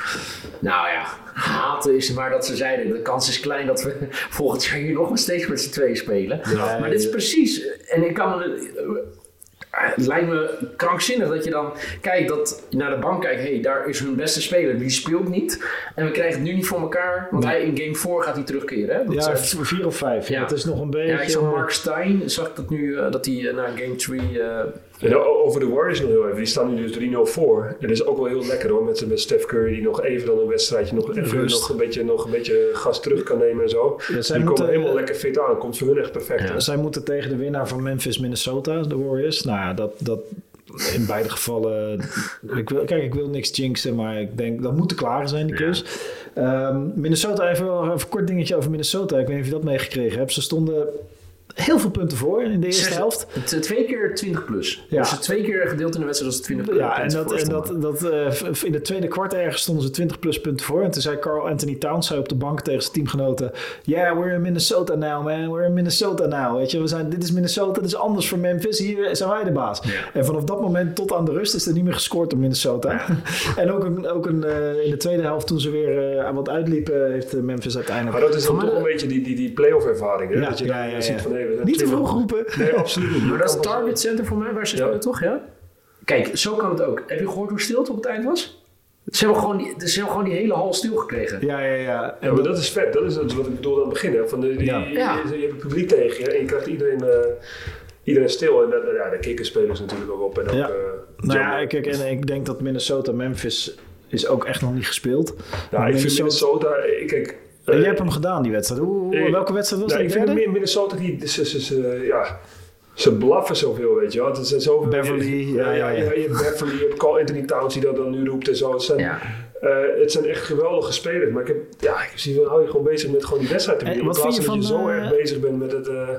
Nou ja, haten is maar dat ze zeiden. De kans is klein dat we volgend jaar hier nog maar steeds met z'n tweeën spelen. Ja, maar dit is precies... En ik kan me... eh, Het lijkt me krankzinnig dat je dan kijkt dat je naar de bank kijkt. Hé, hey, daar is hun beste speler. Die speelt niet. En we krijgen het nu niet voor elkaar. Want hij in game 4 gaat hij terugkeren. Hè? Dat Ja, zijn- vier of vijf. Ja. Dat is nog een beetje... ja, ik zag Mark Stein, zag ik dat nu, eh, dat hij eh, na game 3... eh En o- over de Warriors nog heel even. Die staan nu dus 3-0 voor. En dat is ook wel heel lekker hoor. Met, met Steph Curry die nog even dan een wedstrijdje nog, even Rust. nog, een beetje, nog een beetje gas terug kan nemen en zo. Ja, zij die komen moeten- helemaal lekker fit aan. Komt voor hun echt perfect. Zij moeten tegen de winnaar van Memphis, Minnesota, de Warriors. Nou ja, dat, dat in beide gevallen. Ik wil, kijk, ik wil niks jinxen, maar ik denk dat moet te klaar zijn, die klus. Ehm, Minnesota, even nog een kort dingetje over Minnesota. Ik weet niet of je dat meegekregen hebt. Ze stonden heel veel punten voor in de eerste zes- helft. t- Twee keer 20 plus. Ja. Dus het twee keer gedeeld in de wedstrijd was het 20 plus. Ja, en dat, en dat, dat eh, v- v- in het tweede kwart ergens stonden ze 20 plus punten voor. En toen zei Carl Anthony Towns zei op de bank tegen zijn teamgenoten: Yeah, we're in Minnesota now, man. We're in Minnesota now. Weet je, we zijn, dit is Minnesota, dit is anders voor Memphis. Hier zijn wij de baas. En vanaf dat moment tot aan de rust is er niet meer gescoord door Minnesota. en ook, een, ook een, eh, in de tweede helft, toen ze weer eh wat uitliepen, heeft eh, Memphis Maar uiteindelijk. dat is dan Maar toch de- een beetje die, die, die playoff ervaring. Hè? Ja, dat je ja, dan ja, ja. ziet van hey, we zijn Niet te 20. vroeg roepen. Nee, absoluut niet. Maar dat is het Kan wel Target Center voor mij, waar ze Ja. spelen, toch? Ja? Kijk, zo kan het ook. Heb je gehoord hoe stil het op het eind was? Ze hebben gewoon die, ze hebben gewoon die hele hal stil gekregen. Ja, ja, ja. Ja, maar dat is vet. Dat is dat is wat ik bedoelde aan het begin. Hè? Van de, die- Ja. je- Ja. Je, je hebt het publiek tegen je en je krijgt iedereen, eh, iedereen stil. En dat, ja, daar kikken spelers natuurlijk ook op. En ook, Ja. eh, Nou jammer. ja, kijk, en ik denk dat Minnesota-Memphis is ook echt nog niet gespeeld. Ja, ik vind Minnesota- Minnesota... eh, Kijk, En eh, jij hebt hem gedaan, die wedstrijd. Hoe, hoe- eh, welke wedstrijd was nou, dat? ik Die vind derde? Min- Minnesota, die, ze, ze, ze, ja, ze blaffen zoveel, weet je wel. Het zijn zoveel, Beverly, ja, ja, ja. Je hebt Beverly, je hebt Carl Anthony Towns die dat dan nu roept en zo. Het zijn, Ja. eh, het zijn echt geweldige spelers. Maar ik heb, ja, ik zie, hou je gewoon bezig met gewoon die wedstrijd te En winnen. In Eh, wat vind plaats je van dat je van, zo eh, erg bezig bent met het... eh,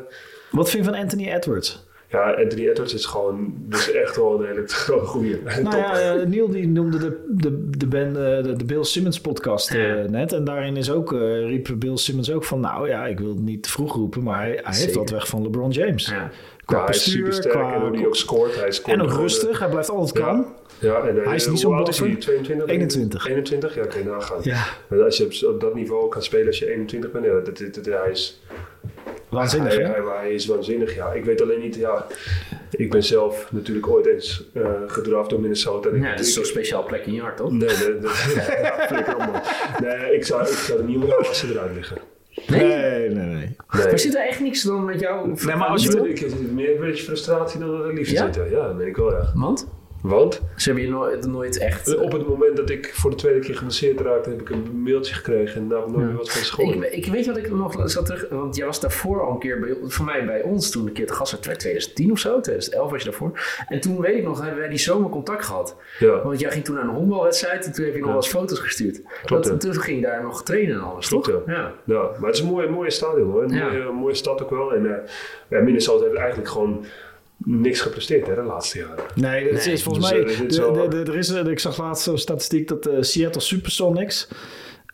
Wat vind je van Anthony Edwards? Ja, Anthony Edwards is gewoon, dus echt wel een hele grote goeie. Nou Top. ja, eh, Neil die noemde de, de, de, ben, eh, de, de Bill Simmons podcast eh, net. En daarin is ook, eh, riep Bill Simmons ook van... Nou ja, ik wil het niet te vroeg roepen, maar hij, hij heeft Zeker. wat weg van LeBron James. Ja. Qua Ja, hij is bestuur, super sterk qua... en hoe hij ook scoort. Hij scoort en ook gewoon, eh, rustig, hij blijft altijd ja. kalm. Ja, en, eh, Hij is niet hoe zo'n oud is hij? blaffer. 22? 21. 21? Ja, kun je nagaan. Ja, Maar Als je op z- op dat niveau kan spelen als je 21 bent, ja, dat, dat, dat- hij, is, waanzinnig hij, hè? hij- hij is waanzinnig. Ja. Ik weet alleen niet, ja, ik ben zelf natuurlijk ooit eens eh gedraft door Minnesota. En ik- Ja, dat is zo'n ik- speciaal plek in je hart, Mm. toch? Nee, nee, dat, ja, flikker op, man. nee ik, zou, ik zou er niet meer als ze eruit liggen. Nee? Nee, nee, nee. Nee. Maar zit er echt niks dan met jou? Nee, maar als je- Ik- Ik heb meer een beetje frustratie dan dat ik liefde Ja? zitten. Ja, dat meen ik wel, ja. Want? Want Ze hebben je nooit, nooit echt... eh, op het moment dat ik voor de tweede keer gemasseerd raakte, heb ik een mailtje gekregen en daar heb ik nooit meer wat van school. Ik, ik weet wat ik nog zat terug. Want jij was daarvoor al een keer bij, voor mij bij ons toen een keer te gast werd. 2010 of zo, 2011 was je daarvoor. En toen weet ik nog, hebben wij die zomer contact gehad. Ja, Want jij ging toen naar een honkbalwedstrijd en toen heb je nog Ja. wel eens foto's gestuurd. Klopt, Dat- ja. toen ging je daar nog trainen en alles, Klopt, toch? ja. ja. ja, maar het is een mooie, mooie stadion hoor. Een Ja. mooie, mooie stad ook wel. En eh, ja, Minnesota heeft eigenlijk gewoon niks gepresteerd hè, de laatste jaren. Nee, dat Nee, is volgens dus, mij. eh, dit de- is wel- de- de- er is, eh, ik zag laatst zo'n statistiek dat de Seattle Supersonics.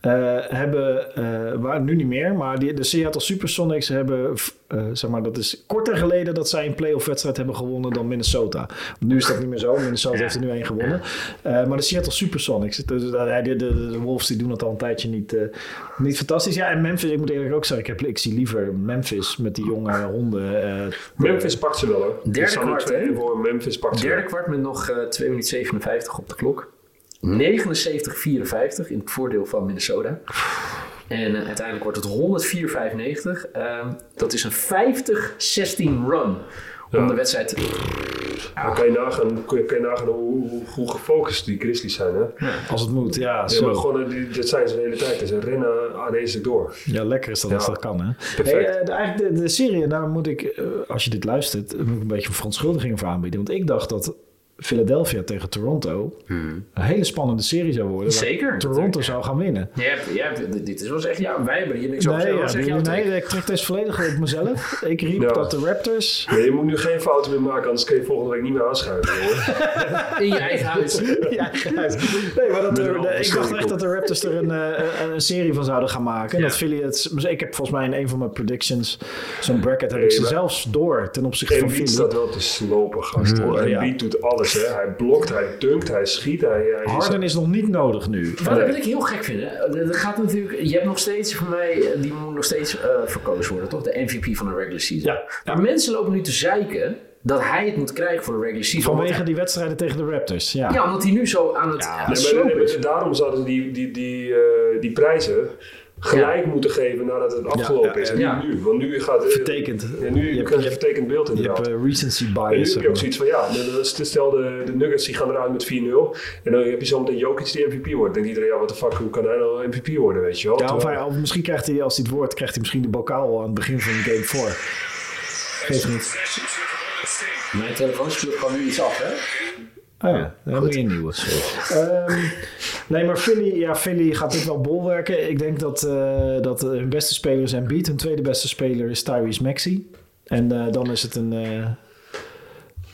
eh, hebben, eh waar, nu niet meer, maar die, de Seattle Supersonics hebben, f- eh, zeg maar, dat is korter geleden dat zij een playoff wedstrijd hebben gewonnen dan Minnesota. Nu is dat niet meer zo, Minnesota heeft er nu één gewonnen. Eh, maar de Seattle Supersonics, dus, eh, de, de, de Wolves die doen dat al een tijdje niet, eh, niet fantastisch. Ja, en Memphis, ik moet eerlijk ook zeggen, ik, heb, ik zie liever Memphis met die jonge honden. eh, Memphis pakt ze wel hoor. Derde Er staan er kwart, twee hè? voor Memphis pakt ze wel. Derde kwart met nog eh 2 minuten 57 op de klok. 79-54 in het voordeel van Minnesota. En eh, uiteindelijk wordt het 104-95. Ehm, dat is een 50-16 run om Ja. de wedstrijd te... Dan kan je nagaan, kun je- kan je nagaan hoe, hoe, hoe gefocust die Grizzlies zijn. Hè? Ja, Als het moet, ja. Zo. maar gewoon, eh, die- dat zijn ze de hele tijd. Dus Ze rennen aan deze door. Ja, lekker is dat als dat kan, hè? Perfect. Hey, eh, de, eigenlijk de, de serie, daar moet ik, eh, als je dit luistert, eh, moet ik een beetje verontschuldiging voor aanbieden. Want ik dacht dat Philadelphia tegen Toronto een hele spannende serie zou worden. waar Zeker. Toronto zou gaan winnen. Jij hebt, jij hebt, dit- dit is wel eens echt jouw... Wij hebben hier niks over. Nee, Nee, ja, zeg nee, jouw nee, take. ik trek deze volledig op mezelf. Ik riep Ja. dat de Raptors... Nee, je moet nu geen fouten meer maken, anders kun je volgende week niet meer aanschuiven. Hoor. In je eigen huis. Ja, juist. nee, maar dat, Met een de- andere ik dacht serie echt op. dat de Raptors er een, eh, een, een serie van zouden gaan maken. En dat Philly het... maar Ik heb volgens mij in een van mijn predictions... Zo'n bracket heb ik Nee, ze maar- zelfs door ten opzichte van Embiid Philly. staat wel te slopen, gast. hoor. Ja. Embiid doet alles, hè. Hij blokt, hij dunkt, hij schiet, hij... hij Harden is nog niet nodig nu. Wat, wat ik heel gek vind, hè? er- er gaat natuurlijk, je hebt nog steeds voor mij, eh, die moet nog steeds eh, verkozen worden, toch? De MVP van de regular season. Ja. Maar mensen lopen nu te zeiken dat hij het moet krijgen voor de regular season. Vanwege Want- die wedstrijden tegen de Raptors. Ja, Ja, omdat hij nu zo aan het aan het Nee, maar- slopen nee, is. maar daarom zouden ze die, die, die, eh, die prijzen gelijk moeten geven nadat het afgelopen ja, is. En ja. niet nu, want nu gaat... eh, Vertekend. Ja, nu Je hebt- je krijg je hebt- een vertekend beeld Je inderdaad. hebt eh, recency en nu bias. heb zeg je ook maar. zoiets van, ja, de- de- stel de, de Nuggets die gaan eruit met 4-0. En dan heb je zometeen Jokic die MVP wordt. Dan denkt iedereen, ja, wat de fuck, hoe kan hij nou MVP worden, weet je wel? Ja, of Terwijl- hij- of misschien krijgt hij, als hij het woord, krijgt hij misschien de bokaal al aan het begin van game 4. Geeft niet. Mijn telefoon speelt gewoon nu iets af, hè? Ah, ja, dan moet je een nieuwe. Ehm, nee, maar Philly, ja, Philly gaat dit wel bolwerken. Ik denk dat, eh, dat eh, hun beste speler is Embiid. Hun tweede beste speler is Tyrese Maxey. En eh, dan is het een... eh,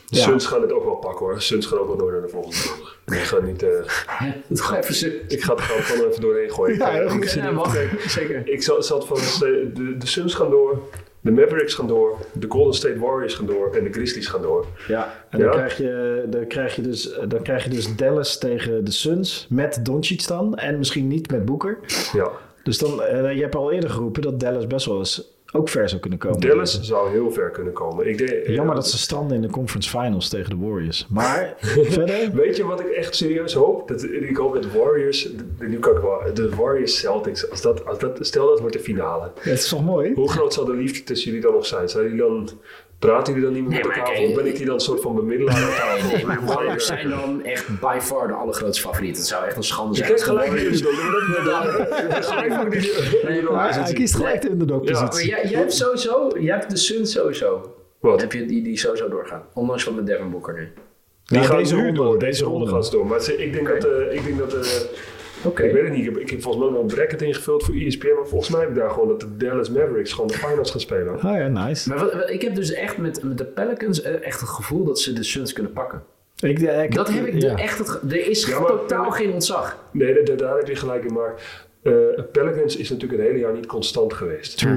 De ja. Suns gaan het ook wel pakken hoor. Suns gaan ook wel door naar de volgende ronde. Ik ga, niet, eh, Toch even zo. ik ga het gewoon gewoon even doorheen gooien. Ja, heel ik, goed. Ja, mag. Zeker. ik zat, zat van eh, de, de Suns gaan door, de Mavericks gaan door, de Golden State Warriors gaan door en de Grizzlies gaan door. Ja, en dan, Ja. Krijg je, dan, krijg je dus, dan krijg je dus Dallas tegen de Suns met Doncic dan. En misschien niet met Boeker. Ja. Dus dan, eh, je hebt al eerder geroepen dat Dallas best wel eens ook ver zou kunnen komen. Dallas zou heel ver kunnen komen. Ik denk, Jammer dat ze stranden in de conference finals tegen de Warriors. Maar verder... Weet je wat ik echt serieus hoop? Dat, ik hoop dat de Warriors, de, de- nu kan ik wel, de Warriors Celtics, als dat, als dat, stel dat wordt de finale. Het is toch mooi? Hoe groot zal de liefde tussen jullie dan nog zijn? Zijn jullie dan, praten jullie dan niet meer Nee, met maar elkaar? kijk, Of ben ik hier dan een soort van bemiddelaar aan tafel? Nee, maar Hoe ga je Warriors werken? zijn dan echt by far de allergrootste favoriet. Het zou echt een schande Je zijn. krijgt als de gelijk in Warriors- de underdog. Gelijk ook niet in de Maar hij positie. kiest gelijk de Ja, underdog-positie. Maar jij, jij hebt sowieso, jij hebt de Suns sowieso. Wat? Heb je die, die sowieso doorgaan? Ondanks van de Devin Booker nu. Die Nou, gaan deze nu ronde, door. deze Deze ronde ronde. gaan ze door. Maar ze- ik denk Oké. dat... eh, Ik denk dat eh, Oké. ik weet het niet, ik heb, ik heb volgens mij nog een bracket ingevuld voor E ESPN, maar volgens mij heb ik daar gewoon dat de Dallas Mavericks gewoon de finals gaan spelen. Oh ja, nice. Maar wat- wat- ik heb dus echt met, met de Pelicans eh, echt het gevoel dat ze de Suns kunnen pakken. Ik, eh, ik- Dat heb ik de- ja. echt. Het, ge- er is Ja, maar- totaal geen ontzag. Nee, daar, daar- daar heb je gelijk in, maar eh, Pelicans is natuurlijk het hele jaar niet constant geweest. Hè?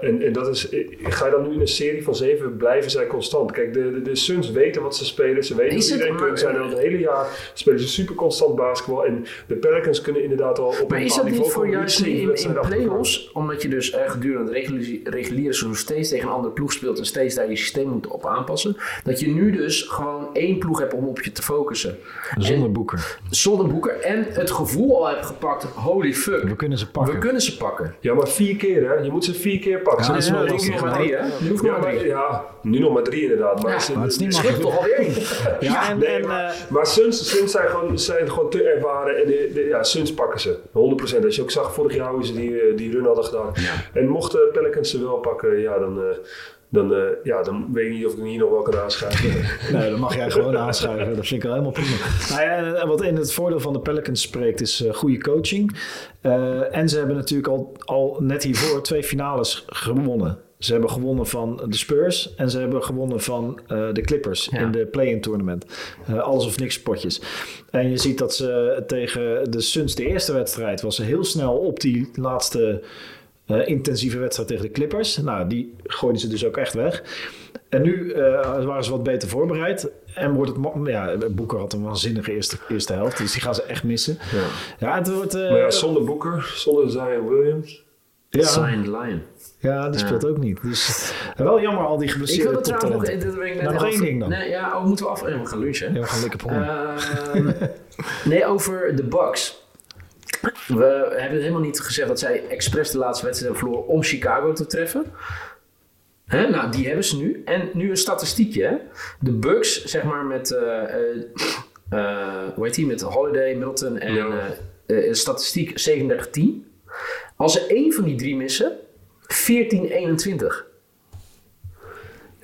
en, en dat is, eh, ga je dan nu in een serie van zeven blijven zij constant? Kijk, de, de, de Suns weten wat ze spelen, ze weten Is wat het- iedereen kunnen zijn. Al het hele jaar spelen ze super constant basketbal en de Pelicans kunnen inderdaad al op een Maar is bepaald dat niet niveau voor van juist League in, League in wedstrijden achter elkaar. play-offs? Omdat je dus eh, gedurende het reguliere- reguliere seizoen steeds tegen een andere ploeg speelt en steeds daar je systeem moet op aanpassen. Dat je nu dus gewoon één ploeg hebt om op je te focussen. Zonder Boeker. Zonder boeken en het gevoel al hebt gepakt: holy fuck, We kunnen ze we pakken. kunnen ze pakken. Ja, maar vier keer hè, je moet ze vier keer pakken. Ze dat is moeten wel één lastig, keer maar pakken. drie, hè? Je hoeft Ja, nog maar maar- drie. ja, nu nog maar drie inderdaad. Maar, Ja, ze- maar het is niet Schip toch alweer één. Ja, en, en, eh, Maar Suns, Suns zijn, gewoon, zijn gewoon te ervaren en de, de- ja, Suns pakken ze. 100%. Als je ook zag vorig jaar hoe ze die, eh, die run hadden gedaan. En mochten Pelicans ze wel pakken, ja, dan, eh, dan, eh, ja, dan weet ik niet of ik hem hier nog wel kan aanschuiven. Nee, dat mag jij gewoon aanschuiven. Dat vind ik al helemaal prima. Nou ja, en wat in het voordeel van de Pelicans spreekt is eh, goede coaching. Eh, en ze hebben natuurlijk al, al net hiervoor twee finales gewonnen. Ze hebben gewonnen van de Spurs en ze hebben gewonnen van eh, de Clippers in de play-in tournament. Eh, alles of niks potjes. En je ziet dat ze tegen de Suns, de eerste wedstrijd, was ze heel snel op die laatste eh, intensieve wedstrijd tegen de Clippers. Nou, die gooiden ze dus ook echt weg. En nu eh, waren ze wat beter voorbereid. En wordt het. ma- Ja, Boeker had een waanzinnige eerste, eerste helft. Dus die gaan ze echt missen. Ja, het wordt. eh, maar ja, zonder Booker, zonder Zion Williams. ja, Signed Lion. ja, die speelt ook niet. Dus wel jammer, al die Ik geblesseerde wilde trouwens nog, toptalenten. dit ben ik net Nou, nog heel één af- ding dan. Nee, ja, oh, moeten we af... eh, we gaan lunchen. Ja, we gaan lekker proppen. Ehm, nee, over de Bucks. We hebben helemaal niet gezegd dat zij expres de laatste wedstrijd hebben verloren om Chicago te treffen. Hè? Nou, die hebben ze nu. En nu een statistiekje. Hè? De Bucks, zeg maar, met... eh, eh, eh, hoe heet die? Met Holiday, Middleton en... Ja. eh, eh, statistiek 37-10. Als ze één van die drie missen... 14-21.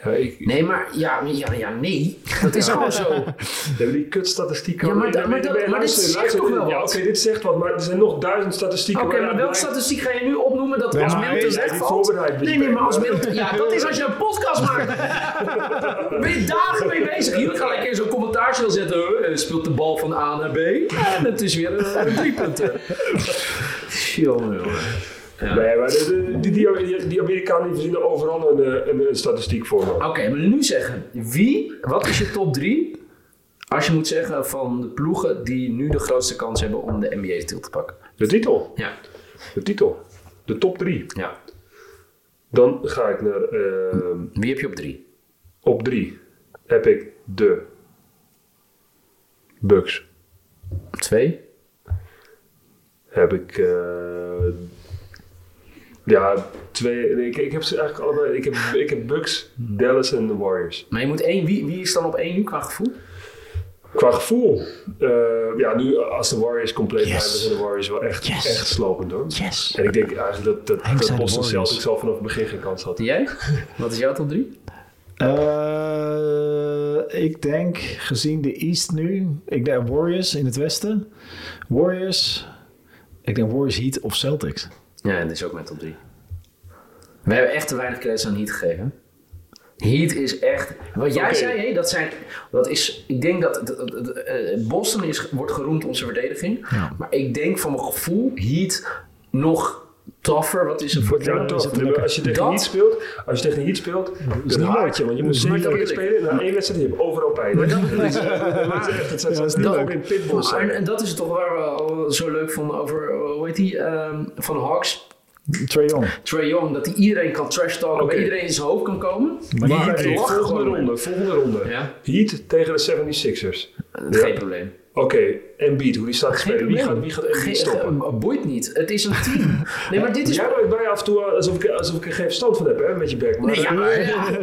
Ja, ik, Nee, maar ja, ja, ja nee. Dat is gewoon zo. Ja, maar die kutstatistieken. Ja, maar da- maar dat- luister, maar dit zegt luister, toch wel Ja, wat? oké, dit zegt wat, maar er zijn nog duizend Oké, statistieken. maar welke statistiek ga je nu opnoemen dat Nee, als maar hij Middleton is niet wegvalt? voorbereid, Nee, nee, maar als Biesbeek. Middleton... Ja, dat is als je een podcast maakt. ben je dagen mee bezig. Jullie gaan lekker in zo'n commentaar zetten. eh, speelt de bal van A naar B. En het is weer eh, een, een driepunter. Jongen, jongen. Nee, maar de- de- die, die, die, die Amerikanen die verzinnen overal een, eh, een, een statistiek voor. man. Oké, maar nu zeggen. Wie, wat is je top 3? Als je moet zeggen van de ploegen die nu de grootste kans hebben om de NBA-titel te pakken. De titel. Ja. De titel. De top drie. ja. Dan ga ik naar. ehm, Wie heb je op 3? op drie heb ik de. Bucks. Op 2? Heb ik. eh, ja, twee. nee, ik, ik heb ze eigenlijk allebei. Ik heb, ik heb Bucks, Dallas en de Warriors. Maar je moet één, wie, wie is dan op één nu qua gevoel? Qua gevoel, eh, ja, nu als de Warriors compleet Yes. blijven, zijn de Warriors wel echt, Yes. echt slopend hoor. Yes. En ik denk eigenlijk dat, dat, Dankzij dat de Boston Warriors. Celtics al vanaf het begin geen kans had. Jij? Wat is jouw top 3? Eh, ik denk, gezien de East nu, ik denk Warriors in het westen. Warriors. Ik denk Warriors Heat of Celtics. Ja, dat is ook mijn top 3. We hebben echt te weinig credits aan Heat gegeven. Heat is echt. Wat jij Oké. zei, hé, dat zijn. Dat is, ik denk dat. dat- dat- dat- eh, Boston is, wordt geroemd om zijn verdediging. Ja. Maar ik denk van mijn gevoel, Heat nog tougher. Wat is er voor Wordt jou is tof. het Nee, maar lekker. Als je tegen Dat- Heat speelt, als je tegen Heat speelt, dan niet haat je, want je moet Maar dat zeven keer wil ik. spelen en na één wedstrijd heb je overal pijn. Dat is echt, het zijn Ja, dat is dat niet ook leuk. in pitbulls. Maar, en, en dat is toch waar we al zo leuk vonden over. eh, Hoe heet die? ehm, van Hawks. Trae Young. Trae Young. Dat hij iedereen kan trash talken. Oké. Bij iedereen in zijn hoofd kan komen. Maar die Maar Heat oké, lachen volgende gewoon, ronde, volgende ronde. Ja. Heat tegen de 76ers. Ja. Geen probleem. Oké, Embiid, hoe die staat te Geen spelen. Wie probleem. gaat, wie gaat Embiid Geen- stoppen? eh, boeit niet. Het is een team. Nee, maar dit is. Jij rijdt mij af en toe alsof ik, alsof ik er geen verstand van heb, hè, met je bek. Maar Nee, ja, maar ja.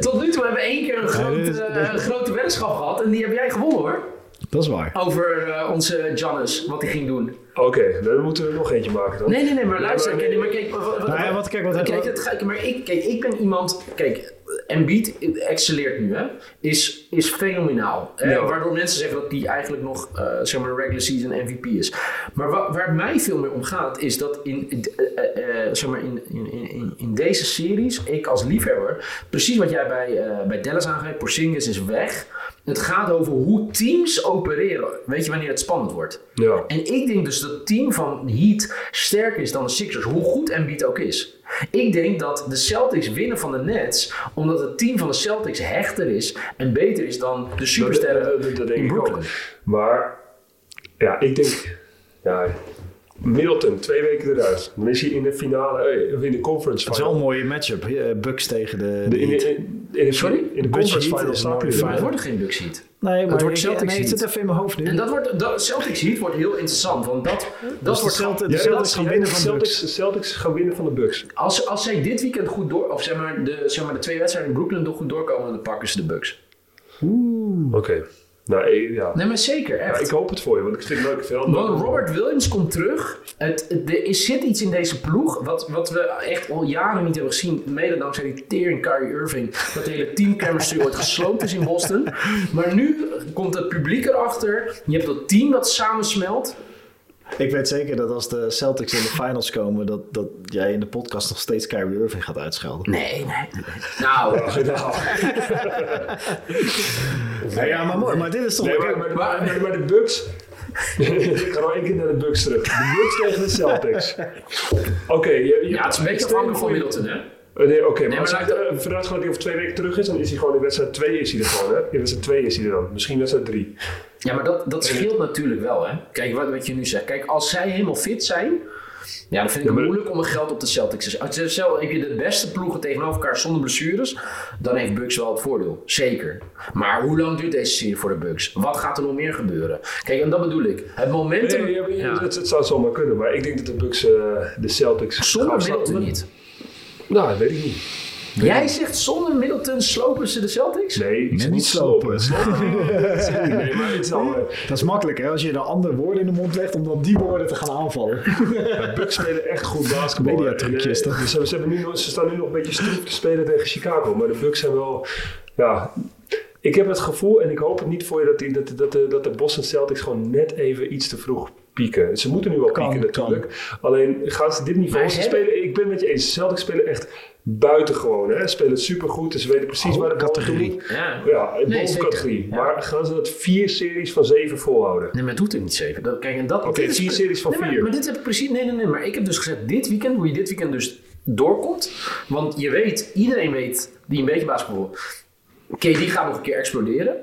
Tot nu toe hebben we één keer een, groot, dit is- eh, dit- een grote weddenschap gehad. En die heb jij gewonnen hoor. Dat is waar. Over eh, onze Janus, wat hij ging doen. Oké, dan moeten we er nog eentje maken dan. Nee, nee, nee, maar luister. maar- Kijk, nee, maar kijk, wat, wat- Nou ja, wat- kijk, wat- kijk, het ga- maar ik, kijk, ik ben iemand. Kijk, Embiid excelleert nu, hè? Is, is fenomenaal. hè, Ja. Waardoor mensen zeggen dat hij eigenlijk nog, eh, zeg maar, een regular season MVP is. Maar wa- waar mij veel meer om gaat, is dat in, in- eh, eh, zeg maar in, in, in- in, in deze series, ik als liefhebber, precies wat jij bij, eh, bij Dallas aangeeft, Porzingis is weg. Het gaat over hoe teams opereren. Weet je wanneer het spannend wordt? Ja. En ik denk dus dat het team van Heat sterker is dan de Sixers, hoe goed Embiid ook is. Ik denk dat de Celtics winnen van de Nets, omdat het team van de Celtics hechter is en beter is dan de supersterren Dat- dat- dat- dat denk in ik ook. Brooklyn. Maar, ja, ik denk... Ja, Middleton, twee weken eruit. Dan is hij in de finale, eh, of in de conference Het is wel final. een mooie matchup. eh, Bucks tegen de, De- de in, de- Heat. in, in de, Sorry? In de conference Heat final is slaap je een Maar mooie het eruit. wordt geen Bucks Heat. Nee, maar wordt ik- Celtics nee, het Heat. zit even in mijn hoofd nu. En dat wordt, dat, Celtics Heat wordt heel interessant, want dat, dat Dus de Celtics, wordt... de Jij denkt- Celtics gaan jij winnen denkt van de Bucks. Celtics, Celtics gaan winnen van de Bucks. Als, als zij dit weekend goed door... Of zeg maar, de, zeg maar de twee wedstrijden in Brooklyn door goed doorkomen, dan pakken ze de Bucks. Oké. Nou, eh, ja. Nee, maar zeker, Ja, echt. Ik hoop het voor je, want ik vind het leuk. Veel Want Robert Williams komt terug. Het, het- er is- zit iets in deze ploeg wat, wat we echt al jaren niet hebben gezien. Mede dankzij die tering Kyrie Irving. Dat de hele team chemistry ooit gesloopt is in Boston. Maar nu komt het publiek erachter. Je hebt dat team dat samensmelt. Ik weet zeker dat als de Celtics in de finals komen, dat, dat jij in de podcast nog steeds Kyrie Irving gaat uitschelden. Nee, nee. nee. Nou, Nou. Ja, ja maar mooi. Maar dit is toch... Nee, kijk, maar, maar, maar, maar- maar de Bucks. ik ga nog één keer naar de Bucks terug. De Bucks tegen de Celtics. Oké, je- je- ja, het is een beetje stel je afhankelijk van voor- Middleton, hè? Eh, Nee, oké, maar maar als hij laat- eh, vanuit gaat dat hij over twee weken terug is, dan is hij gewoon in wedstrijd 2 is hij er gewoon, hè? In wedstrijd 2 is hij er dan. Misschien wedstrijd 3. Ja, maar dat, dat scheelt natuurlijk wel, hè? Kijk, wat, wat je nu zegt. Kijk, als zij helemaal fit zijn. Ja, dan vind ik Ja, het maar- moeilijk om mijn geld op de Celtics te zetten. Als je- Stel, heb je de beste ploegen tegenover elkaar zonder blessures. Dan heeft Bucks wel het voordeel. Zeker. Maar hoe lang duurt deze serie voor de Bucks? Wat gaat er nog meer gebeuren? Kijk, en dat bedoel ik. Het momentum. Nee, ja, maar je- Ja. Het, het zou zomaar kunnen, maar ik denk dat de Bucks eh, de Celtics. Zonder gaan Middleton slapen. niet. Nou, dat weet ik niet. Jij zegt zonder Middleton slopen ze de Celtics? Nee, het is Niet niet slopen. nee, maar het is al... eh, Dat is makkelijk, hè? Als je de andere woorden in de mond legt om dan die woorden te gaan aanvallen. De Bucks spelen echt goed basketbal. Mediatrucjes, En, eh, toch? Ze, hebben- ze hebben nu, nog- ze staan nu nog een beetje stroef te spelen tegen Chicago. Maar de Bucks zijn wel... Ja, ik heb het gevoel, en ik hoop het niet voor je, dat, die, dat, dat, de- dat de Boston Celtics gewoon net even iets te vroeg pieken. Ze moeten nu al Kan, pieken kan. natuurlijk. Alleen gaan ze dit niveau... Maar Ze hè? spelen, ik ben het met je eens. De Celtics spelen echt buitengewoon. Hè? Ze spelen supergoed en ze weten precies Oh, waar de bal categorie. toe moet. Ja. Ja, een Nee, bovencategorie. zeker. Ja. Maar gaan ze dat vier series van zeven volhouden? Nee, maar het doet er niet zeven. Dat, kijk, en dat, Oké, dit is vier pre- series van nee, maar- vier. Maar, dit heb ik precies... Nee, nee, nee. Maar ik heb dus gezegd, dit weekend, hoe je dit weekend dus doorkomt. Want je weet, iedereen weet, die een beetje basketbal... Oké, die gaat nog een keer exploderen.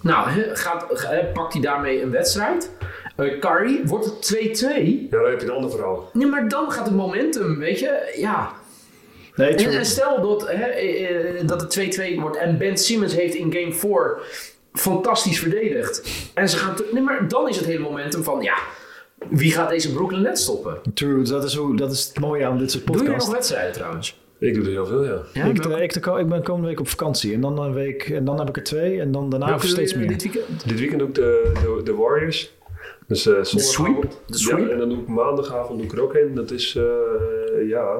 Nou, hè, gaat, ga- hè, pakt hij daarmee een wedstrijd. Eh Curry, wordt het 2-2? Ja, dan heb je een ander verhaal. Nee, maar dan gaat het momentum, weet je. Ja, Nee, En, en stel dat, hè, eh, eh, dat het 2-2 wordt en Ben Simmons heeft in game 4 fantastisch verdedigd. En ze gaan. te- Nee, maar dan is het hele momentum van ja. Wie gaat deze Brooklyn net stoppen? True, dat is, hoe, dat is het mooie aan dit soort Doe je nog podcasts. wedstrijden trouwens? Ik doe er heel veel, ja. Ja, Ik, ik, ik, ik ben komende week op vakantie en dan, een week, en dan heb ik er twee en dan daarna Welke nog steeds wil je meer. Dit weekend? Dit weekend doe ik de, de, de Warriors. Dus eh zondagavond. sweep? De sweep? Ja, en dan doe ik maandagavond doe ik er ook een. Dat is, eh, ja,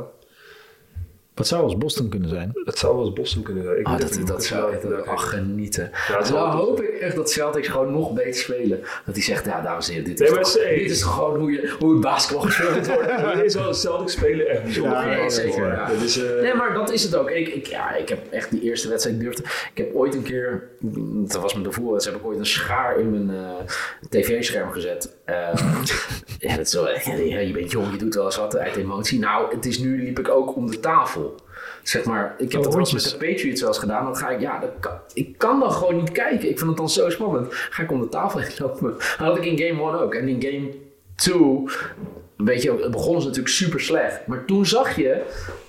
Wat zou als Boston kunnen zijn? dat zou wel eens Boston kunnen zijn. Ah, Ik Oh, weet dat, even niet dat of zou ik echt vandaag- ach, genieten. Ja, het dan zal altijd- hoop ik echt dat Celtics gewoon nog beter spelen. Dat hij zegt, ja dames en heren, dit is, Nee, maar toch, het is- dit is toch gewoon hoe, je, hoe het basketbal gespeeld wordt. Ja, maar Zelfs Celtics spelen echt bijzonder. Ja, nee, goed. zeker, ja. Dat is, eh, Nee, maar dat is het ook. Ik, ik, ja, ik heb echt die eerste wedstrijd durfde. Ik heb ooit een keer, dat was mijn daarvoor, heb ik ooit een schaar in mijn eh, tv-scherm gezet. Eh, ja, dat is wel, echt- ja, je bent jong, je doet wel eens wat uit emotie. Nou, het is nu liep ik ook om de tafel. Zeg maar, ik heb Oh, dat wel eens met rondjes. de Patriots wel eens gedaan. Dan ga ik, ja, dat kan, ik kan dan gewoon niet kijken. Ik vind het dan zo spannend. Ga ik om de tafel heen lopen. Dat had ik in game 1 ook. En in game 2 Weet je, het begon ze natuurlijk super slecht. Maar toen zag je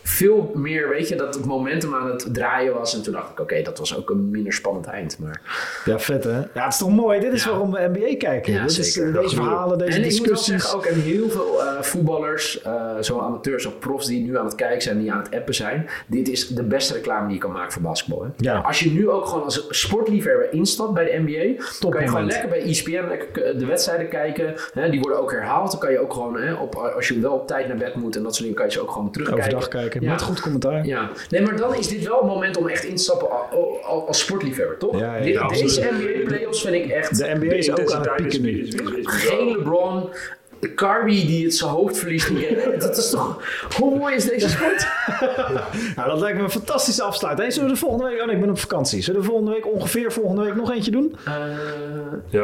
veel meer, weet je, dat het momentum aan het draaien was. En toen dacht ik, oké, dat was ook een minder spannend eind. Maar... Ja, vet hè? Ja, het is toch mooi? Dit is Ja. waarom we NBA kijken. Ja, Dit is, zeker. eh, Dat deze bedoel ik. verhalen, deze en ik moet wel discussies. zeggen, ook aan heel veel eh, voetballers, eh zowel amateurs als profs die nu aan het kijken zijn, die aan het appen zijn. Dit is de beste reclame die je kan maken voor basketbal. Hè? Ja. Als je nu ook gewoon als sportliefhebber instapt bij de NBA, kan je gewoon moment. lekker bij E ESPN lekker k- de wedstrijden kijken. Hè? Die worden ook herhaald. Dan kan je ook gewoon, hè, op, eh, als je wel op tijd naar bed moet en dat soort dingen, kan je ze ook gewoon terugkijken. Overdag kijken. Ja. Met goed commentaar. Ja, nee, maar dan is dit wel een moment om echt in te stappen al- al- al- als sportliefhebber, toch? Ja, ja, Dit- ja, Deze absoluut. NBA playoffs vind ik echt De NBA is ook aan het pieken is- nu. is- is- is bizar. geen LeBron. Carby die het zijn hoofd verliest. Die- Dat is toch... Hoe mooi is deze sport? Nou, dat lijkt me een fantastische afsluit. Hey, zullen we de volgende week... Oh nee, ik ben op vakantie. Zullen we volgende week, ongeveer volgende week, nog eentje doen? Ja,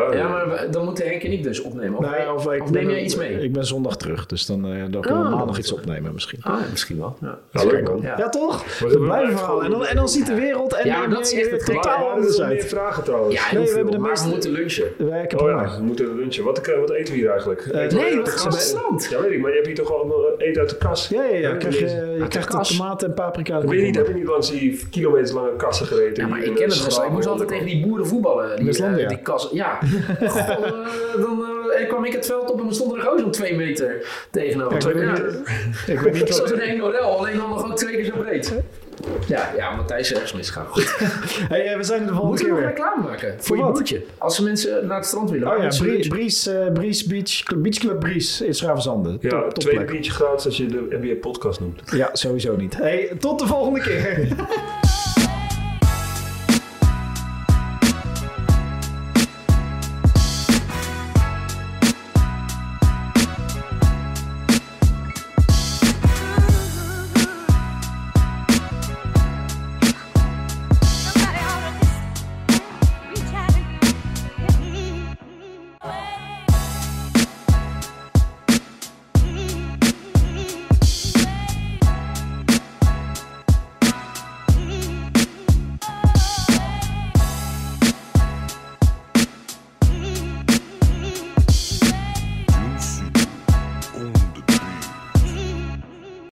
Eh, ja, maar we- dan moeten Henk en ik dus opnemen. Of, Nee, Nou of, ik of ben- neem jij iets mee? Ik ben zondag terug, dus dan, eh, dan kunnen Oh, we maandag dat iets is- opnemen misschien. Ah, ja, misschien wel. Ja. Ja, leuk man. Ja, Ja. toch? we We blijven blijven verhalen. En dan, gewoon- en dan ziet de wereld en Ja, de maar dat is NBA echt weer het ding. totaal Waar waren er anders nog meer uit. vragen trouwens? Ja, heel Nee, we veel, hebben de maar meeste- we moeten lunchen. Wij ik heb Oh honger. ja, we moeten lunchen. Wat, eh, wat eten we hier eigenlijk? Eten we nee, uit we de gaan kast? naar het strand. Ja, weet ik, maar je hebt hier toch allemaal eten uit de kast? Ja, ja, ja. Heb ik Krijg je niet. je Uit de krijgt de kast. tomaten en paprika. Ik weet niet, heb je niet langs die kilometers lange kassen gereden? Ja, maar Die ik in ken een het wel. Ik moest schaal- altijd tegen die boeren voetballen. Die, Westlandia. eh, die kas. Ja. Goh, eh, dan eh, kwam ik het veld op en we stonden er gewoon zo'n twee meter Ik tegenover. weet Ja, niet- ik weet niet Zoals wat... een Engel, alleen dan nog ook twee keer zo breed. Ja, ja Matthijs eh, is ergens misgaan. Goed. Hey, eh, we zijn er de volgende Moeten we nog keer weer. reclame maken voor je wat? broertje? Als ze mensen naar het strand willen. Oh ja, waarom ze Brie- lunchen? Bries, eh, Bries Beach, Club, Beach Club Bries in Schravenzanden. top, Ja, tweede topplek. biertje gratis als je de NBA podcast noemt. Ja, sowieso niet. Hey, tot de volgende keer.